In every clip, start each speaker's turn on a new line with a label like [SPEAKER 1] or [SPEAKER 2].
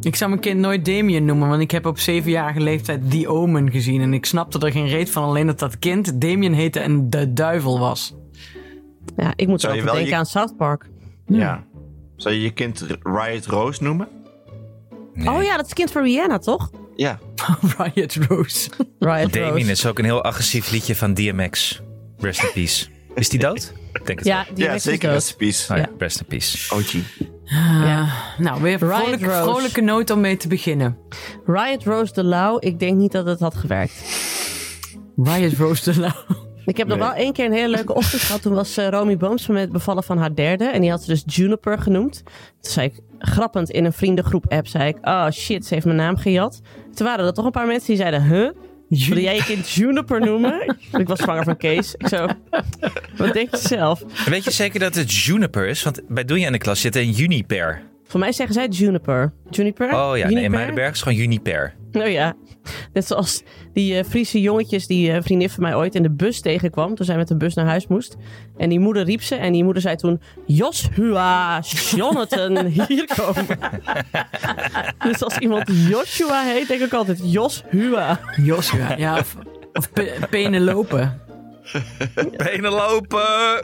[SPEAKER 1] Ik zou mijn kind nooit Damien noemen, want ik heb op zevenjarige leeftijd The Omen gezien. En ik snapte er geen reet van, alleen dat dat kind Damien heette en de duivel was.
[SPEAKER 2] Ja, ik moet zo
[SPEAKER 3] Zou
[SPEAKER 2] altijd
[SPEAKER 3] je wel
[SPEAKER 2] denken
[SPEAKER 3] je-
[SPEAKER 2] aan South Park.
[SPEAKER 3] Ja. Zou je je kind Riot Rose noemen?
[SPEAKER 4] Nee.
[SPEAKER 2] Oh ja, dat is kind van Rihanna, toch?
[SPEAKER 3] Ja.
[SPEAKER 1] Riot Rose.
[SPEAKER 2] Riot
[SPEAKER 4] Damien
[SPEAKER 2] Rose.
[SPEAKER 4] is ook een heel agressief liedje van DMX. Rest in peace. Is die dood? Ik denk het
[SPEAKER 2] Ja,
[SPEAKER 4] wel.
[SPEAKER 2] die
[SPEAKER 3] ja,
[SPEAKER 2] Rex is
[SPEAKER 3] zeker.
[SPEAKER 2] dood.
[SPEAKER 3] Rest in peace.
[SPEAKER 4] Oh ja,
[SPEAKER 2] Ja.
[SPEAKER 4] Rest in peace.
[SPEAKER 3] OG.
[SPEAKER 2] Ja.
[SPEAKER 1] Nou, weer een
[SPEAKER 2] Riot
[SPEAKER 1] vrolijke,
[SPEAKER 2] Rose.
[SPEAKER 1] vrolijke noot om mee te beginnen.
[SPEAKER 2] Riot Rose de Lau, ik denk niet dat het had gewerkt.
[SPEAKER 1] Riot Rose de Lau.
[SPEAKER 2] Ik heb nog wel één keer een hele leuke ochtend gehad. Toen was eh, Romy Boomsma met het bevallen van haar derde. En die had ze dus Juniper genoemd. Toen zei ik, grappend, in een vriendengroep app zei ik... Oh shit, ze heeft mijn naam gejat. Toen waren er toch een paar mensen die zeiden... Huh? Wil jij je kind Juniper noemen? ik was zwanger van Kees. Ik zo, wat denk je zelf?
[SPEAKER 4] En Weet je zeker dat het juniper is? Want bij Doenje aan de klas zit een juniper.
[SPEAKER 2] Voor mij zeggen zij Juniper. Juniper?
[SPEAKER 4] Oh ja, nee, in
[SPEAKER 2] Juniper?
[SPEAKER 4] Muidenberg is gewoon juniper.
[SPEAKER 2] Nou ja, net zoals die eh, Friese jongetjes die eh, een vriendin van mij ooit in de bus tegenkwam. Toen zij met de bus naar huis moest. En die moeder riep ze en die moeder zei toen... Joshua, Jonathan, hier komen. dus als iemand Joshua heet, denk ik altijd Joshua.
[SPEAKER 1] Joshua. Ja, of, of Pe- Penelope.
[SPEAKER 4] Benen lopen!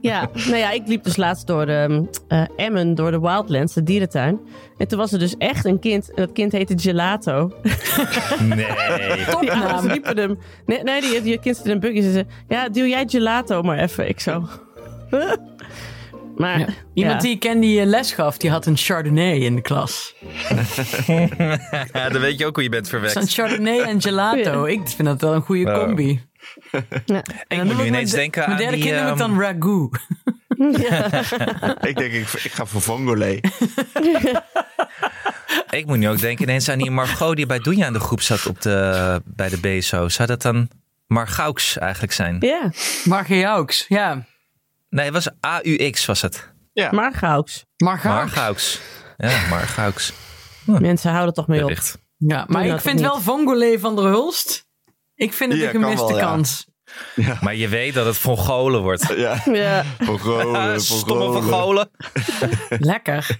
[SPEAKER 2] Ja, nou ja, ik liep dus laatst door de, eh, Emmen, door de Wildlands, de dierentuin. En toen was er dus echt een kind, en dat kind heette Gelato.
[SPEAKER 4] Nee.
[SPEAKER 2] Die ouders riepen hem. Nee, nee die, die kind zit in een buggy. Ze zei, ja, duw jij gelato maar even. Ik zo. "Huh?" maar, ja.
[SPEAKER 1] Iemand die ik ken die eh, les gaf, die had een Chardonnay in de klas.
[SPEAKER 4] Ja, dan weet je ook hoe je bent
[SPEAKER 1] Dus een
[SPEAKER 4] verwekt.
[SPEAKER 1] Chardonnay en gelato. Ik vind dat wel een goede
[SPEAKER 4] Wow.
[SPEAKER 1] combi.
[SPEAKER 2] Ja.
[SPEAKER 1] En dan
[SPEAKER 4] Nou.
[SPEAKER 1] noem
[SPEAKER 4] moet nu
[SPEAKER 1] ik mijn
[SPEAKER 4] ineens
[SPEAKER 1] de-
[SPEAKER 4] denken
[SPEAKER 1] mijn
[SPEAKER 4] aan
[SPEAKER 1] derde
[SPEAKER 4] die, ehm,
[SPEAKER 1] kind noem ik dan ragout.
[SPEAKER 3] Ik denk, ik, ik ga voor Vongole.
[SPEAKER 4] Ik moet nu ook denken ineens aan die Margot die bij Doenje aan de groep zat op de, bij de BSO. Zou dat dan Margaux eigenlijk zijn?
[SPEAKER 2] ja.
[SPEAKER 1] Margaux, ja.
[SPEAKER 4] Nee, het was AUX was het.
[SPEAKER 3] Ja.
[SPEAKER 2] maar Gauks.
[SPEAKER 1] Margaux.
[SPEAKER 4] Margaux. Ja, Margaux.
[SPEAKER 2] Mensen houden toch mee op.
[SPEAKER 4] Wellicht.
[SPEAKER 1] Ja, maar
[SPEAKER 2] Doe
[SPEAKER 1] ik
[SPEAKER 2] dat
[SPEAKER 1] vind
[SPEAKER 2] ook
[SPEAKER 1] wel Vongole van der Hulst. Ik vind het
[SPEAKER 3] Ja,
[SPEAKER 1] een
[SPEAKER 3] kan
[SPEAKER 1] gemiste
[SPEAKER 3] wel, ja.
[SPEAKER 1] kans.
[SPEAKER 4] Maar je weet dat het Mongolen wordt.
[SPEAKER 3] Ja.
[SPEAKER 2] Ja.
[SPEAKER 3] Vongole,
[SPEAKER 4] Ah, Stomme
[SPEAKER 3] Vongole.
[SPEAKER 4] Mongolen.
[SPEAKER 1] Lekker.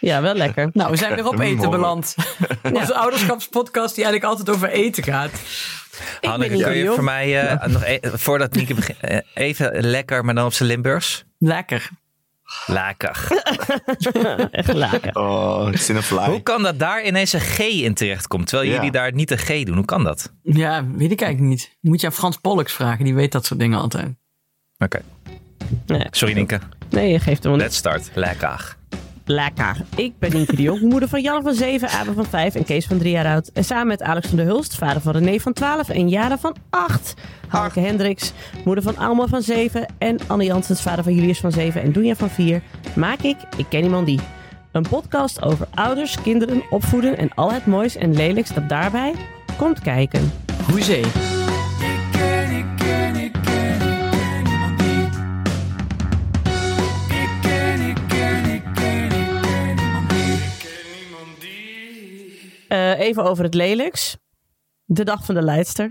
[SPEAKER 2] ja, wel lekker.
[SPEAKER 1] Nou, we zijn weer op eten
[SPEAKER 3] Mooi.
[SPEAKER 1] beland. Onze ouderschapspodcast die eigenlijk altijd over eten gaat.
[SPEAKER 4] Hanneke,
[SPEAKER 2] niet
[SPEAKER 4] kun je
[SPEAKER 2] joh.
[SPEAKER 4] voor mij eh, nog e- voordat Nieke begint, eh, even lekker, maar dan op zijn Limburgs?
[SPEAKER 1] Lekker.
[SPEAKER 4] Lekker.
[SPEAKER 2] Echt lekker.
[SPEAKER 3] Oh, ik zit een
[SPEAKER 4] Hoe
[SPEAKER 3] fly.
[SPEAKER 4] kan dat daar ineens een G in terecht komt, terwijl
[SPEAKER 3] Ja.
[SPEAKER 4] jullie daar niet een G doen? Hoe kan dat?
[SPEAKER 1] Ja, weet ik eigenlijk niet. Moet je aan Frans Pollux vragen, die weet dat soort dingen altijd.
[SPEAKER 4] Oké.
[SPEAKER 2] Nee.
[SPEAKER 4] Sorry Nienke.
[SPEAKER 2] Nee, je geeft hem wel niet.
[SPEAKER 4] Let's start. Lekker.
[SPEAKER 2] Lekker. Ik ben Nienke de Jong, moeder van Jan van 7, Abe van 5 en Kees van 3 jaar oud. En samen met Alex van der Hulst, vader van René van 12 en Jara van 8. Hanneke Hendricks, moeder van Alma van 7 en Anne Janssens, vader van Julius van 7 en Doenja van 4. Maak ik Ik Ken Iemand Die. Een podcast over ouders, kinderen, opvoeden en al het moois en lelijks dat daarbij komt kijken.
[SPEAKER 1] Hoezee.
[SPEAKER 2] Eh, even over het lelijks. De dag van de leidster.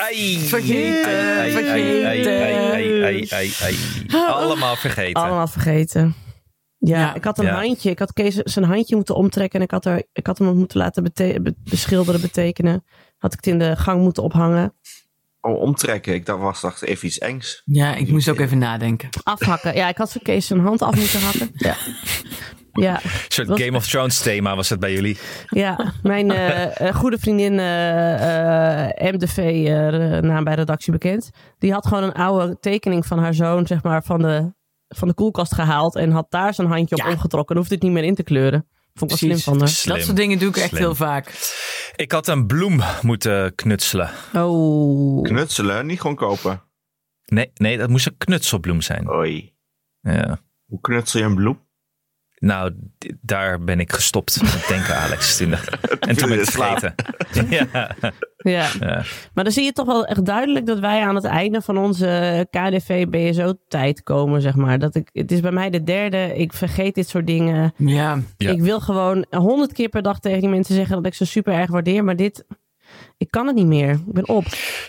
[SPEAKER 4] Ai,
[SPEAKER 1] Vergeten,
[SPEAKER 4] ai, ai, ai, ai,
[SPEAKER 1] vergeten.
[SPEAKER 4] ai, ai, ai, ai. Allemaal vergeten.
[SPEAKER 2] Allemaal vergeten. Ja,
[SPEAKER 1] Ja.
[SPEAKER 2] ik had een
[SPEAKER 4] Ja.
[SPEAKER 2] handje. Ik had Kees zijn handje moeten omtrekken. En ik had, er, ik had hem moeten laten bete- be- beschilderen, betekenen. Had ik het in de gang moeten ophangen.
[SPEAKER 3] Oh, omtrekken. Ik dacht, was, dacht even iets engs.
[SPEAKER 1] Ja, ik moest ook even nadenken.
[SPEAKER 2] Afhakken. Ja, ik had voor Kees zijn hand af moeten hakken. Ja. Ja,
[SPEAKER 4] Een soort
[SPEAKER 2] Was-
[SPEAKER 4] Game of Thrones thema was dat bij jullie.
[SPEAKER 2] ja, mijn eh, eh, goede vriendin eh, eh, MDV, eh, re- naam bij redactie bekend. Die had gewoon een oude tekening van haar zoon, zeg maar, van de, van de koelkast gehaald. En had daar zijn handje op
[SPEAKER 1] Ja.
[SPEAKER 2] omgetrokken. En hoefde het niet meer in te kleuren. Vond ik wel
[SPEAKER 1] Precies.
[SPEAKER 2] slim van haar.
[SPEAKER 4] Slim.
[SPEAKER 1] Dat soort dingen doe ik echt
[SPEAKER 4] Slim.
[SPEAKER 1] heel vaak.
[SPEAKER 4] Ik had een bloem moeten knutselen.
[SPEAKER 2] Oh.
[SPEAKER 3] Knutselen, niet gewoon kopen.
[SPEAKER 4] Nee, nee dat moest een knutselbloem zijn.
[SPEAKER 3] Oei.
[SPEAKER 4] Ja.
[SPEAKER 3] Hoe knutsel je een bloem?
[SPEAKER 4] Nou, d- daar ben ik gestopt met denken, Alex. Toen dacht- en toen ben ik het vergeten. Ja.
[SPEAKER 2] Ja.
[SPEAKER 4] Ja.
[SPEAKER 2] maar dan zie je toch wel echt duidelijk dat wij aan het einde van onze KDV-BSO-tijd komen, zeg maar. Dat ik, het is bij mij de derde, ik vergeet dit soort dingen.
[SPEAKER 1] Ja,
[SPEAKER 4] Ja.
[SPEAKER 2] Ik wil gewoon honderd keer per dag tegen die mensen zeggen dat ik ze super erg waardeer, maar dit, ik kan het niet meer. Ik ben op.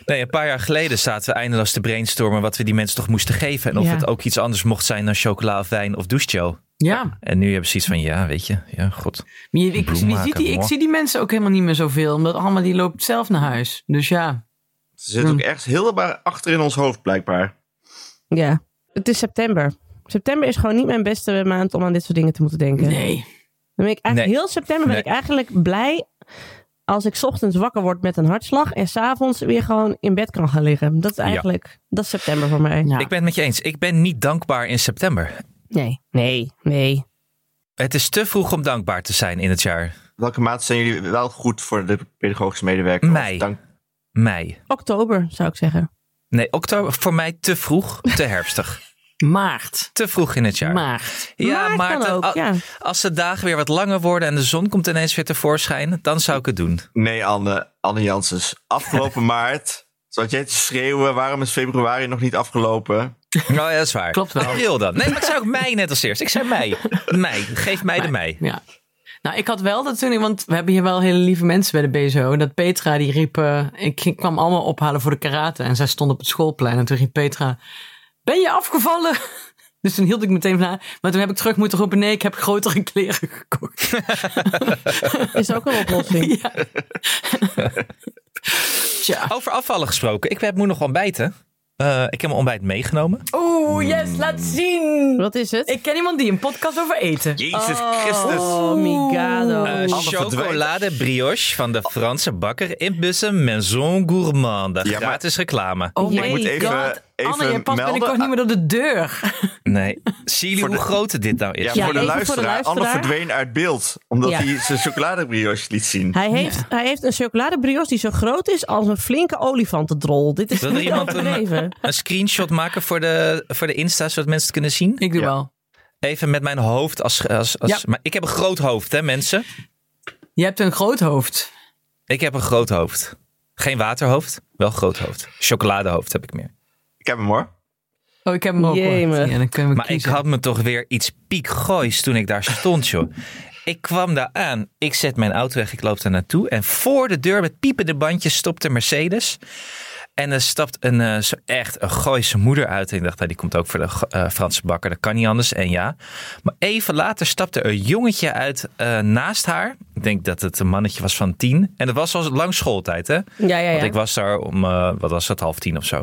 [SPEAKER 4] Nee, een paar jaar geleden zaten we eindeloos te brainstormen wat we die mensen toch moesten geven. En of
[SPEAKER 2] Ja.
[SPEAKER 4] het ook iets anders mocht zijn dan chocola of wijn of douchegel.
[SPEAKER 1] Ja,
[SPEAKER 4] En nu hebben ze iets van, ja, weet je, ja, god.
[SPEAKER 1] maar je- ik,
[SPEAKER 4] Bloem
[SPEAKER 1] je
[SPEAKER 4] maken,
[SPEAKER 1] ziet die, ik
[SPEAKER 4] mooi.
[SPEAKER 1] zie die mensen ook helemaal niet meer zoveel. Omdat Alma die loopt zelf naar huis. Dus ja,
[SPEAKER 3] Ze zit ook ergens heel erg achter in ons hoofd, blijkbaar.
[SPEAKER 2] Ja. Het is september. September is gewoon niet mijn beste maand om aan dit soort dingen te moeten denken.
[SPEAKER 1] nee.
[SPEAKER 2] Dan ben ik eigenlijk
[SPEAKER 4] Nee.
[SPEAKER 2] heel september ben
[SPEAKER 4] Nee.
[SPEAKER 2] ik eigenlijk blij als ik 's ochtends wakker word met een hartslag en s'avonds weer gewoon in bed kan gaan liggen. Dat is eigenlijk dat is september voor mij.
[SPEAKER 1] Ja.
[SPEAKER 4] Ik ben het met je eens. Ik ben niet dankbaar in september.
[SPEAKER 2] Nee, nee, nee.
[SPEAKER 4] Het is te vroeg om dankbaar te zijn in het jaar.
[SPEAKER 3] Welke mate zijn jullie wel goed voor de pedagogische medewerker?
[SPEAKER 4] Mei.
[SPEAKER 3] Of Dank...
[SPEAKER 4] Mei.
[SPEAKER 2] Oktober zou ik zeggen.
[SPEAKER 4] Nee, oktober voor mij te vroeg, te herfstig.
[SPEAKER 1] Maart.
[SPEAKER 4] Te vroeg in het jaar.
[SPEAKER 1] Maart.
[SPEAKER 4] ja,
[SPEAKER 2] Maart
[SPEAKER 4] maar
[SPEAKER 2] kan ook,
[SPEAKER 4] a-
[SPEAKER 2] ja.
[SPEAKER 4] als de dagen weer wat langer worden en de zon komt ineens weer tevoorschijn, dan zou ik het doen.
[SPEAKER 3] Nee, Anne, Anne Janssens. Afgelopen maart zat jij te schreeuwen. Waarom is februari nog niet afgelopen?
[SPEAKER 4] Oh, ja, dat is waar.
[SPEAKER 1] Klopt wel.
[SPEAKER 4] April dan. Nee, maar ik zei ook mei net als eerst. Ik zei mei. Mei. Geef mij de mei.
[SPEAKER 1] Ja. Nou, ik had wel dat toen, ik- want we hebben hier wel hele lieve mensen bij de BSO. Dat Petra die riep, eh, ik ging- kwam allemaal ophalen voor de karate. En zij stond op het schoolplein. En toen riep Petra, ben je afgevallen? Dus toen hield ik meteen van haar. Maar toen heb ik terug moeten roepen, nee, ik heb grotere kleren gekocht.
[SPEAKER 2] Is ook een oplossing.
[SPEAKER 1] Ja. Tja.
[SPEAKER 4] Over afvallen gesproken. Ik heb, moet nog ontbijten. Eh, ik heb mijn ontbijt
[SPEAKER 1] Oh,
[SPEAKER 4] meegenomen.
[SPEAKER 1] Oeh, yes, laat zien.
[SPEAKER 2] Wat is het?
[SPEAKER 1] Ik ken iemand die een podcast over eten.
[SPEAKER 3] Jezus Christus.
[SPEAKER 2] Oh migado.
[SPEAKER 4] Eh, chocolade
[SPEAKER 3] verdwijnt.
[SPEAKER 4] brioche van de Franse bakker in Bussen Maison Gourmande.
[SPEAKER 3] Ja, maar-
[SPEAKER 4] Gratis reclame.
[SPEAKER 1] Oh
[SPEAKER 2] Ik
[SPEAKER 1] my
[SPEAKER 3] moet even-
[SPEAKER 1] god. Anne,
[SPEAKER 3] even
[SPEAKER 1] je past
[SPEAKER 3] melden.
[SPEAKER 1] binnenkort niet meer door de deur.
[SPEAKER 4] Nee. Zie jullie
[SPEAKER 3] Voor
[SPEAKER 4] hoe
[SPEAKER 3] de-
[SPEAKER 4] groot dit nou is?
[SPEAKER 3] Ja,
[SPEAKER 2] Ja,
[SPEAKER 3] voor, de
[SPEAKER 2] even voor de
[SPEAKER 3] luisteraar. Anne
[SPEAKER 2] luisteraar.
[SPEAKER 3] verdween uit beeld. Omdat
[SPEAKER 2] Ja.
[SPEAKER 3] hij zijn chocoladebrioche liet zien.
[SPEAKER 2] Hij heeft, hij heeft een chocoladebrioche die zo groot is als een flinke olifantendrol. Dit is
[SPEAKER 4] Wil er
[SPEAKER 2] niet
[SPEAKER 4] iemand een-
[SPEAKER 2] overdreven.
[SPEAKER 4] Een screenshot maken voor de, voor de Insta, zodat mensen het kunnen zien.
[SPEAKER 1] Ik doe
[SPEAKER 3] Ja.
[SPEAKER 1] wel.
[SPEAKER 4] Even met mijn hoofd als... als, als
[SPEAKER 1] Ja.
[SPEAKER 4] Maar ik heb een groot hoofd, hè mensen?
[SPEAKER 1] Je hebt een groot hoofd.
[SPEAKER 4] Ik heb een groot hoofd. Geen waterhoofd, wel groot hoofd. Chocoladehoofd heb ik meer.
[SPEAKER 3] Ik heb hem hoor.
[SPEAKER 1] Oh, ik heb hem ook. hoor.
[SPEAKER 2] Jemig.
[SPEAKER 1] Ja, dan kunnen we
[SPEAKER 4] Maar ik
[SPEAKER 1] kiezen.
[SPEAKER 4] had me toch weer iets piekgoois toen ik daar stond, joh. Ik kwam daar aan, ik zet mijn auto weg, ik loop daar naartoe. En voor de deur met piepende bandjes stopt een Mercedes. En er stapt een, eh, zo echt een Gooise moeder uit. En ik dacht, nou, die komt ook voor de Go- eh, Franse bakker, dat kan niet anders. En ja. Maar even later stapte een jongetje uit eh, naast haar. Ik denk dat het een mannetje was van tien. En dat was al lang schooltijd, hè?
[SPEAKER 2] Ja, ja,
[SPEAKER 4] Want
[SPEAKER 2] ja.
[SPEAKER 4] ik was daar om, eh, wat was dat, half tien of zo.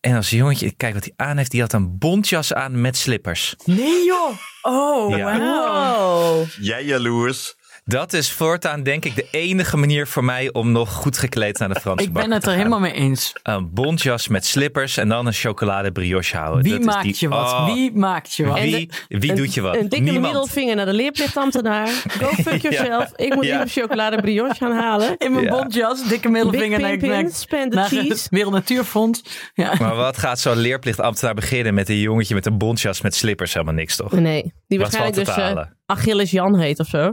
[SPEAKER 4] En als jongetje, kijk wat hij aan heeft. Die had een bontjas aan met slippers.
[SPEAKER 1] Nee joh! Oh,
[SPEAKER 4] Ja.
[SPEAKER 1] wauw.
[SPEAKER 2] Wow.
[SPEAKER 3] Jij jaloers.
[SPEAKER 4] Dat is voortaan denk ik de enige manier voor mij om nog goed gekleed naar de Franse
[SPEAKER 1] Ik
[SPEAKER 4] bakker
[SPEAKER 1] ben het er
[SPEAKER 4] te gaan.
[SPEAKER 1] helemaal mee eens.
[SPEAKER 4] Een bontjas met slippers en dan een chocolade brioche houden.
[SPEAKER 1] Wie
[SPEAKER 4] Dat is
[SPEAKER 1] maakt
[SPEAKER 4] die-
[SPEAKER 1] je wat?
[SPEAKER 3] Ah.
[SPEAKER 4] Oh,
[SPEAKER 1] Wie maakt je wat?
[SPEAKER 2] En
[SPEAKER 4] wie, wie
[SPEAKER 2] Een-
[SPEAKER 4] doet je wat?
[SPEAKER 2] Een dikke
[SPEAKER 4] Niemand.
[SPEAKER 2] middelvinger naar de leerplichtambtenaar. Go fuck yourself. Ik moet
[SPEAKER 4] Ja.
[SPEAKER 2] liever chocolade brioche gaan halen.
[SPEAKER 1] In mijn
[SPEAKER 4] Ja.
[SPEAKER 1] bontjas, dikke middelvinger
[SPEAKER 2] Big
[SPEAKER 1] naar,
[SPEAKER 2] Pimpin,
[SPEAKER 1] naar,
[SPEAKER 2] spend the
[SPEAKER 1] naar het
[SPEAKER 2] cheese.
[SPEAKER 1] Wereld Natuurfonds. Ja.
[SPEAKER 4] Maar wat gaat zo'n leerplichtambtenaar beginnen met een jongetje met een bontjas met slippers? Helemaal niks toch?
[SPEAKER 2] Nee, die
[SPEAKER 4] Wat valt
[SPEAKER 2] waarschijnlijk
[SPEAKER 4] er
[SPEAKER 2] dus
[SPEAKER 4] te
[SPEAKER 2] eh,
[SPEAKER 4] halen?
[SPEAKER 2] Achilles Jan heet of zo.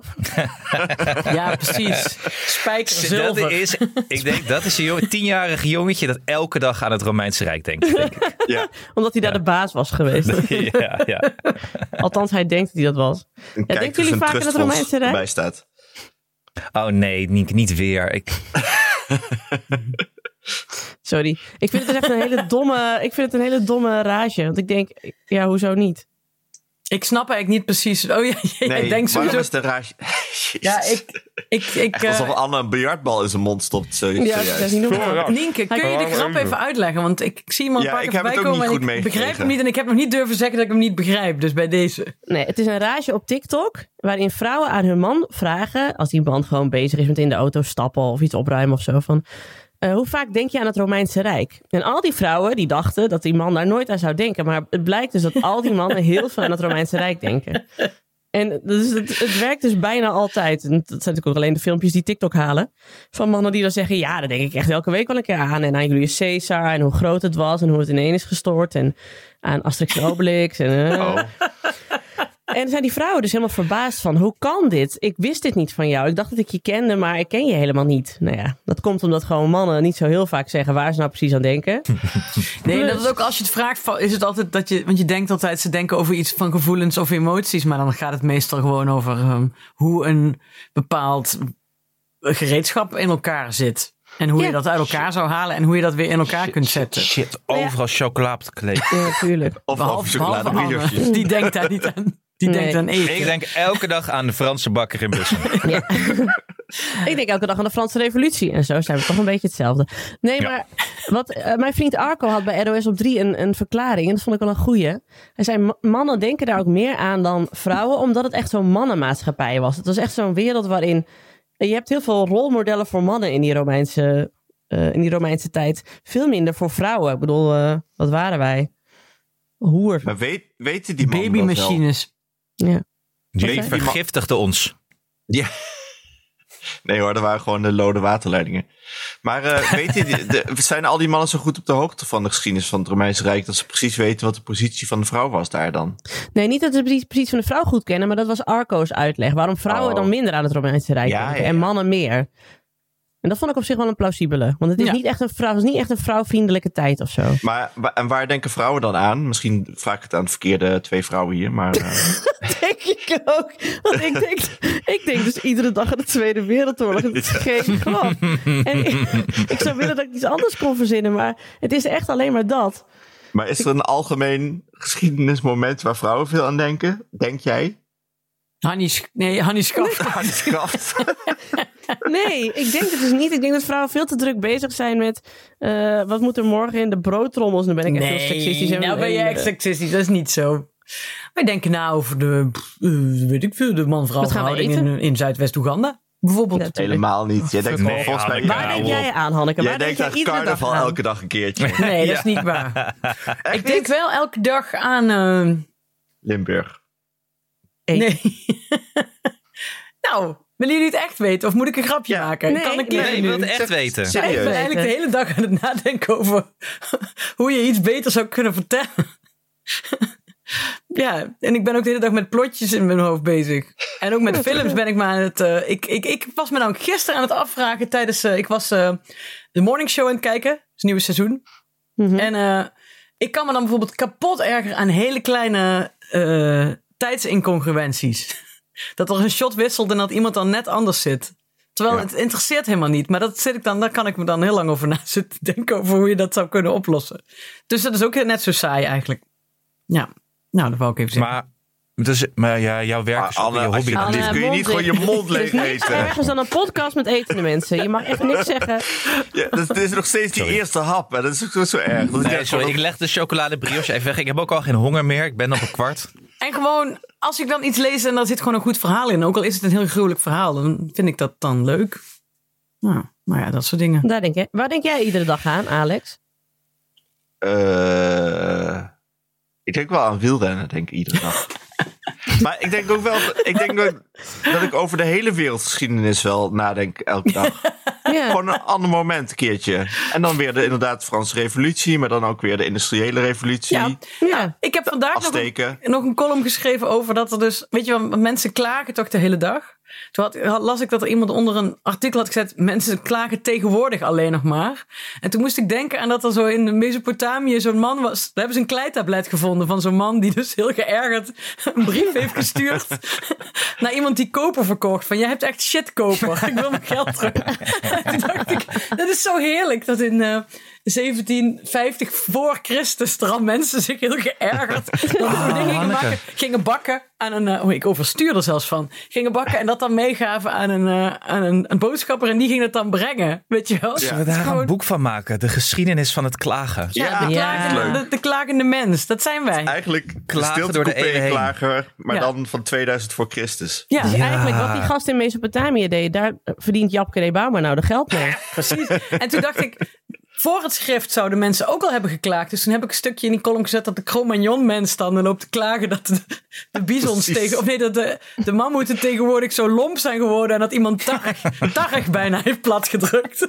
[SPEAKER 1] ja, precies. Spijker
[SPEAKER 4] Dat
[SPEAKER 1] zilver.
[SPEAKER 4] is, ik denk dat is een jong, tienjarig jongetje dat elke dag aan het Romeinse Rijk denkt. Denk ik.
[SPEAKER 3] Ja.
[SPEAKER 2] Omdat hij daar de baas was geweest.
[SPEAKER 4] ja, ja.
[SPEAKER 2] Althans, hij denkt dat hij dat was.
[SPEAKER 3] En
[SPEAKER 2] denken
[SPEAKER 3] kijk
[SPEAKER 2] jullie
[SPEAKER 3] dus een
[SPEAKER 2] vaker dat er
[SPEAKER 3] trustfonds
[SPEAKER 2] mensen, hè?
[SPEAKER 3] erbij staat.
[SPEAKER 4] Oh nee, niet, niet weer. Ik,
[SPEAKER 2] Sorry. Ik vind het dus echt een hele domme, ik vind het een hele domme rage. Want ik denk, ja, hoezo niet?
[SPEAKER 1] Ik snap eigenlijk niet precies. Oh ja, ja,
[SPEAKER 3] Nee,
[SPEAKER 1] ik denk
[SPEAKER 3] waarom
[SPEAKER 1] sowieso.
[SPEAKER 3] is de raar?
[SPEAKER 1] Ja, ik. ik, ik
[SPEAKER 3] Echt alsof
[SPEAKER 1] eh,
[SPEAKER 3] Anne een biljartbal in zijn mond stopt. Zo,
[SPEAKER 2] Ja, dat
[SPEAKER 3] serieus.
[SPEAKER 2] is niet normaal.
[SPEAKER 1] Nienke, kun je de grap even uitleggen? Want ik, ik zie hem al een
[SPEAKER 3] Ja,
[SPEAKER 1] paar
[SPEAKER 3] ik
[SPEAKER 1] keer
[SPEAKER 3] heb het
[SPEAKER 1] voorbij
[SPEAKER 3] ook
[SPEAKER 1] komen
[SPEAKER 3] niet
[SPEAKER 1] en
[SPEAKER 3] goed
[SPEAKER 1] ik begrijp
[SPEAKER 3] meegekregen.
[SPEAKER 1] hem niet. En ik heb nog niet durven zeggen dat ik hem niet begrijp. Dus bij deze.
[SPEAKER 2] Nee, het is een rage op TikTok waarin vrouwen aan hun man vragen, als die man gewoon bezig is met in de auto stappen of iets opruimen of zo, van eh, hoe vaak denk je aan het Romeinse Rijk? En al die vrouwen die dachten dat die man daar nooit aan zou denken, maar het blijkt dus dat al die mannen heel veel aan het Romeinse Rijk denken. En dus het, het werkt dus bijna altijd. En dat zijn natuurlijk ook alleen de filmpjes die TikTok halen. Van mannen die dan zeggen: Ja, daar denk ik echt elke week wel een keer aan. En aan Julius Caesar. En hoe groot het was. En hoe het ineen is gestort. En aan Asterix en Obelix. En, eh.
[SPEAKER 3] Oh.
[SPEAKER 2] En zijn die vrouwen dus helemaal verbaasd van, hoe kan dit? Ik wist dit niet van jou. Ik dacht dat ik je kende, maar ik ken je helemaal niet. Nou ja, dat komt omdat gewoon mannen niet zo heel vaak zeggen waar ze nou precies aan denken.
[SPEAKER 1] Nee,
[SPEAKER 2] Plus-
[SPEAKER 1] dat is ook als je het vraagt, va- is het altijd dat je. Want je denkt altijd, ze denken over iets van gevoelens of emoties. Maar dan gaat het meestal gewoon over ehm, hoe een bepaald gereedschap in elkaar zit. En hoe je
[SPEAKER 2] Ja.
[SPEAKER 1] dat uit elkaar zou halen en hoe je dat weer in elkaar kunt zetten.
[SPEAKER 4] shit, overal chocola op het kleed.
[SPEAKER 2] Ja, natuurlijk.
[SPEAKER 3] Of
[SPEAKER 1] Behalve, behalve
[SPEAKER 3] chocoladebrioche.
[SPEAKER 1] Anne, die denkt daar niet aan. Die
[SPEAKER 2] Nee.
[SPEAKER 1] denkt aan eten.
[SPEAKER 4] Ik denk elke dag aan de Franse bakker in Bussum.
[SPEAKER 2] Ja. ik denk elke dag aan de Franse Revolutie. En zo zijn we toch een beetje hetzelfde. Nee,
[SPEAKER 4] Ja.
[SPEAKER 2] maar wat, eh, mijn vriend Arco had bij ROS op 3 een, een verklaring. En dat vond ik wel een goeie. Hij zei, "Ma- mannen denken daar ook meer aan dan vrouwen. Omdat het echt zo'n mannenmaatschappij was. Het was echt zo'n wereld waarin... eh, Je hebt heel veel rolmodellen voor mannen in die Romeinse, eh, in die Romeinse tijd. Veel minder voor vrouwen. Ik bedoel, eh, wat waren wij? Hoer.
[SPEAKER 3] Maar weet, weten die mannen dat wel?
[SPEAKER 1] Babymachines.
[SPEAKER 4] Die
[SPEAKER 3] Oké.
[SPEAKER 4] vergiftigde ons.
[SPEAKER 3] Nee hoor, dat waren gewoon de lode waterleidingen. Maar eh, weet je, de- de- zijn al die mannen zo goed op de hoogte van de geschiedenis van het Romeinse Rijk... dat ze precies weten wat de positie van de vrouw was daar dan?
[SPEAKER 2] Nee, niet dat ze precies, precies van de vrouw goed kennen, maar dat was Arco's uitleg. Waarom vrouwen
[SPEAKER 3] Oh.
[SPEAKER 2] dan minder aan het Romeinse Rijk
[SPEAKER 3] Ja,
[SPEAKER 2] denken
[SPEAKER 3] ja, ja.
[SPEAKER 2] en mannen meer. En dat vond ik op zich wel een plausibele. Want het is
[SPEAKER 1] Ja.
[SPEAKER 2] niet echt een vrouw, het is niet echt een vrouwvriendelijke tijd of zo.
[SPEAKER 3] Maar wa- en waar denken vrouwen dan aan? Misschien vraag ik het aan de verkeerde twee vrouwen hier, maar... eh,
[SPEAKER 2] Denk ik ook. Want ik denk, ik denk dus iedere dag aan de Tweede Wereldoorlog. Het is geen grap. En ik, ik zou willen dat ik iets anders kon verzinnen, maar het is echt alleen maar dat.
[SPEAKER 3] maar is er een algemeen geschiedenismoment waar vrouwen veel aan denken? Denk jij?
[SPEAKER 1] Hannie, Sch- nee, Hannie Schaf.
[SPEAKER 3] Hartkracht.
[SPEAKER 2] Nee, ik denk het dus niet. Ik denk dat vrouwen veel te druk bezig zijn met eh, wat moet er morgen in de broodtrommels. Dan ben ik echt heel seksistisch. en-
[SPEAKER 1] nou ben je
[SPEAKER 2] en,
[SPEAKER 1] echt
[SPEAKER 2] eh,
[SPEAKER 1] seksistisch. Dat is niet zo. Wij denken na over de, pff, eh, weet ik veel, de man-vrouw
[SPEAKER 2] Wat gaan we
[SPEAKER 1] verhouding in,
[SPEAKER 2] eten?
[SPEAKER 1] in Zuidwest-Oeganda. Bijvoorbeeld.
[SPEAKER 2] Ja,
[SPEAKER 3] Helemaal niet. Jij denkt
[SPEAKER 4] Nee,
[SPEAKER 3] gewoon volgens mij...
[SPEAKER 4] Anneke,
[SPEAKER 2] Waar
[SPEAKER 4] Ja,
[SPEAKER 2] denk
[SPEAKER 4] hoor.
[SPEAKER 2] jij aan, Hanneke?
[SPEAKER 3] Jij
[SPEAKER 2] Waar
[SPEAKER 3] denkt aan
[SPEAKER 2] iedere dag
[SPEAKER 3] carnaval
[SPEAKER 2] aan?
[SPEAKER 3] elke dag een keertje.
[SPEAKER 1] Nee, dat is niet waar. ik denk wel elke dag aan... eh,
[SPEAKER 3] Limburg.
[SPEAKER 2] Ik.
[SPEAKER 1] nee. nou, willen jullie het echt weten? Of moet ik een grapje maken?
[SPEAKER 2] Nee,
[SPEAKER 1] kan ik
[SPEAKER 2] nee,
[SPEAKER 1] kiezen
[SPEAKER 4] Nee, ik
[SPEAKER 1] nu?
[SPEAKER 4] wil het echt weten.
[SPEAKER 1] Ja, ik ben
[SPEAKER 2] Serieus?
[SPEAKER 1] eigenlijk de hele dag aan het nadenken over hoe je iets beter zou kunnen vertellen. Ja, en ik ben ook de hele dag met plotjes in mijn hoofd bezig. En ook met films ben ik maar aan het... eh, ik, ik, ik was me nou gisteren aan het afvragen tijdens... eh, ik was eh, de morning show aan het kijken. Het is het nieuwe seizoen.
[SPEAKER 2] Mhm.
[SPEAKER 1] En eh, ik kan me dan bijvoorbeeld kapot erger aan hele kleine eh, tijdsincongruenties. Dat er een shot wisselt en dat iemand dan net anders zit. Terwijl
[SPEAKER 3] Ja.
[SPEAKER 1] het interesseert helemaal niet. Maar dat zit ik dan, daar kan ik me dan heel lang over na zitten denken over hoe je dat zou kunnen oplossen. Dus dat is ook net zo saai eigenlijk. Ja, nou dat wou ik even zeggen.
[SPEAKER 4] Maar, dus, maar ja, jouw werk
[SPEAKER 3] Maar
[SPEAKER 4] is ook
[SPEAKER 3] Anne,
[SPEAKER 4] je hobby.
[SPEAKER 3] alsjeblieft,
[SPEAKER 2] Anne,
[SPEAKER 3] kun je niet
[SPEAKER 2] mond
[SPEAKER 3] gewoon
[SPEAKER 2] dicht.
[SPEAKER 3] je mond leeg eten?
[SPEAKER 2] Ah, Ergens dan een podcast met etende mensen. Je mag echt niks zeggen.
[SPEAKER 3] Ja, dat, dat is nog steeds die
[SPEAKER 4] Sorry.
[SPEAKER 3] eerste hap. En dat is ook zo, zo erg. Dat
[SPEAKER 4] Nee, sorry, ik leg de chocolade brioche even weg. Ik heb ook al geen honger meer. Ik ben op een kwart.
[SPEAKER 1] En gewoon, als ik dan iets lees en daar zit gewoon een goed verhaal in. Ook al is het een heel gruwelijk verhaal, dan vind ik dat dan leuk. Nou, maar ja, dat soort dingen.
[SPEAKER 2] Daar denk je, waar denk jij iedere dag aan, Alex?
[SPEAKER 3] Eh, ik denk wel aan wielrennen, denk ik, iedere dag. maar ik denk ook wel... Ik denk dat, dat ik over de hele wereldgeschiedenis wel nadenk elke dag.
[SPEAKER 2] Ja.
[SPEAKER 3] Gewoon een ander moment een keertje. En dan weer de, inderdaad de Franse revolutie. Maar dan ook weer de industriële revolutie.
[SPEAKER 1] Ja,
[SPEAKER 2] ja.
[SPEAKER 1] Ik heb vandaag nog een,
[SPEAKER 3] Afsteken.
[SPEAKER 1] nog een column geschreven over dat er dus... Weet je wel, mensen klagen toch de hele dag? Toen had, had- las ik dat er iemand onder een artikel had gezet... mensen klagen tegenwoordig alleen nog maar. En toen moest ik denken aan dat er zo in Mesopotamië zo'n man was... Daar hebben ze een kleitablet gevonden van zo'n man... die dus heel geërgerd een brief heeft gestuurd... naar iemand die koper verkocht. Van, jij hebt echt shitkoper. Ik wil mijn geld terug. toen dacht ik, dat is zo heerlijk dat in... eh, 1750 voor Christus er al mensen zich heel geërgerd dat er dingen gingen,
[SPEAKER 4] Ah, Hanneke.
[SPEAKER 1] bakken, gingen bakken aan een eh, oh ik overstuur er zelfs van gingen bakken en dat dan meegaven aan een, eh, aan een, een boodschapper en die ging het dan brengen weet je wel
[SPEAKER 4] Zullen we daar een boek van maken? De geschiedenis van het klagen.
[SPEAKER 1] ja, de,
[SPEAKER 2] Ja.
[SPEAKER 1] klagende, de, de klagende mens dat zijn wij
[SPEAKER 3] Eigenlijk
[SPEAKER 4] Klagen
[SPEAKER 3] stilte
[SPEAKER 4] door de
[SPEAKER 3] coupé
[SPEAKER 4] ene heen.
[SPEAKER 3] klager. Maar
[SPEAKER 1] Ja.
[SPEAKER 3] dan van 2000 voor Christus.
[SPEAKER 1] ja,
[SPEAKER 2] Dus
[SPEAKER 4] Ja.
[SPEAKER 2] eigenlijk wat die gast in Mesopotamië deed, daar eh, verdient Japke de Bouwman nou de geld mee.
[SPEAKER 1] precies en toen dacht ik voor het schrift zouden mensen ook al hebben geklaagd. Dus toen heb ik een stukje in die column gezet dat de Cro-Magnon mens dan loopt te klagen dat de, de bisons
[SPEAKER 3] Precies.
[SPEAKER 1] tegen... Of nee, dat de, de mammoeten tegenwoordig zo lomp zijn geworden en dat iemand targ, targ bijna heeft platgedrukt.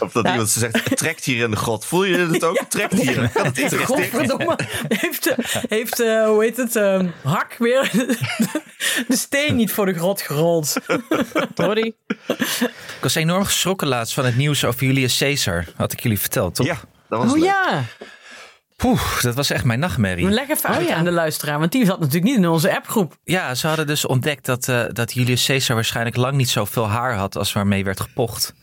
[SPEAKER 3] Of dat iemand ze zegt, trekt hier in de grot. Voel je het ook? Trekt hier. Kan het irriteren?
[SPEAKER 1] Godverdomme. Heeft, eh, heeft eh, hoe heet het, eh, Hak weer de steen niet voor de grot gerold.
[SPEAKER 2] Sorry.
[SPEAKER 4] Ik was enorm geschrokken laatst van het nieuws over Julius Caesar. Had ik jullie verteld, toch?
[SPEAKER 3] Ja, dat was
[SPEAKER 1] Oh
[SPEAKER 3] leuk.
[SPEAKER 1] ja,
[SPEAKER 4] Poeh, dat was echt mijn nachtmerrie.
[SPEAKER 1] leg even uit aan de luisteraar, want die zat natuurlijk niet in onze appgroep.
[SPEAKER 4] Ja, ze hadden dus ontdekt dat, eh, dat Julius Caesar waarschijnlijk lang niet zoveel haar had als waarmee werd gepocht.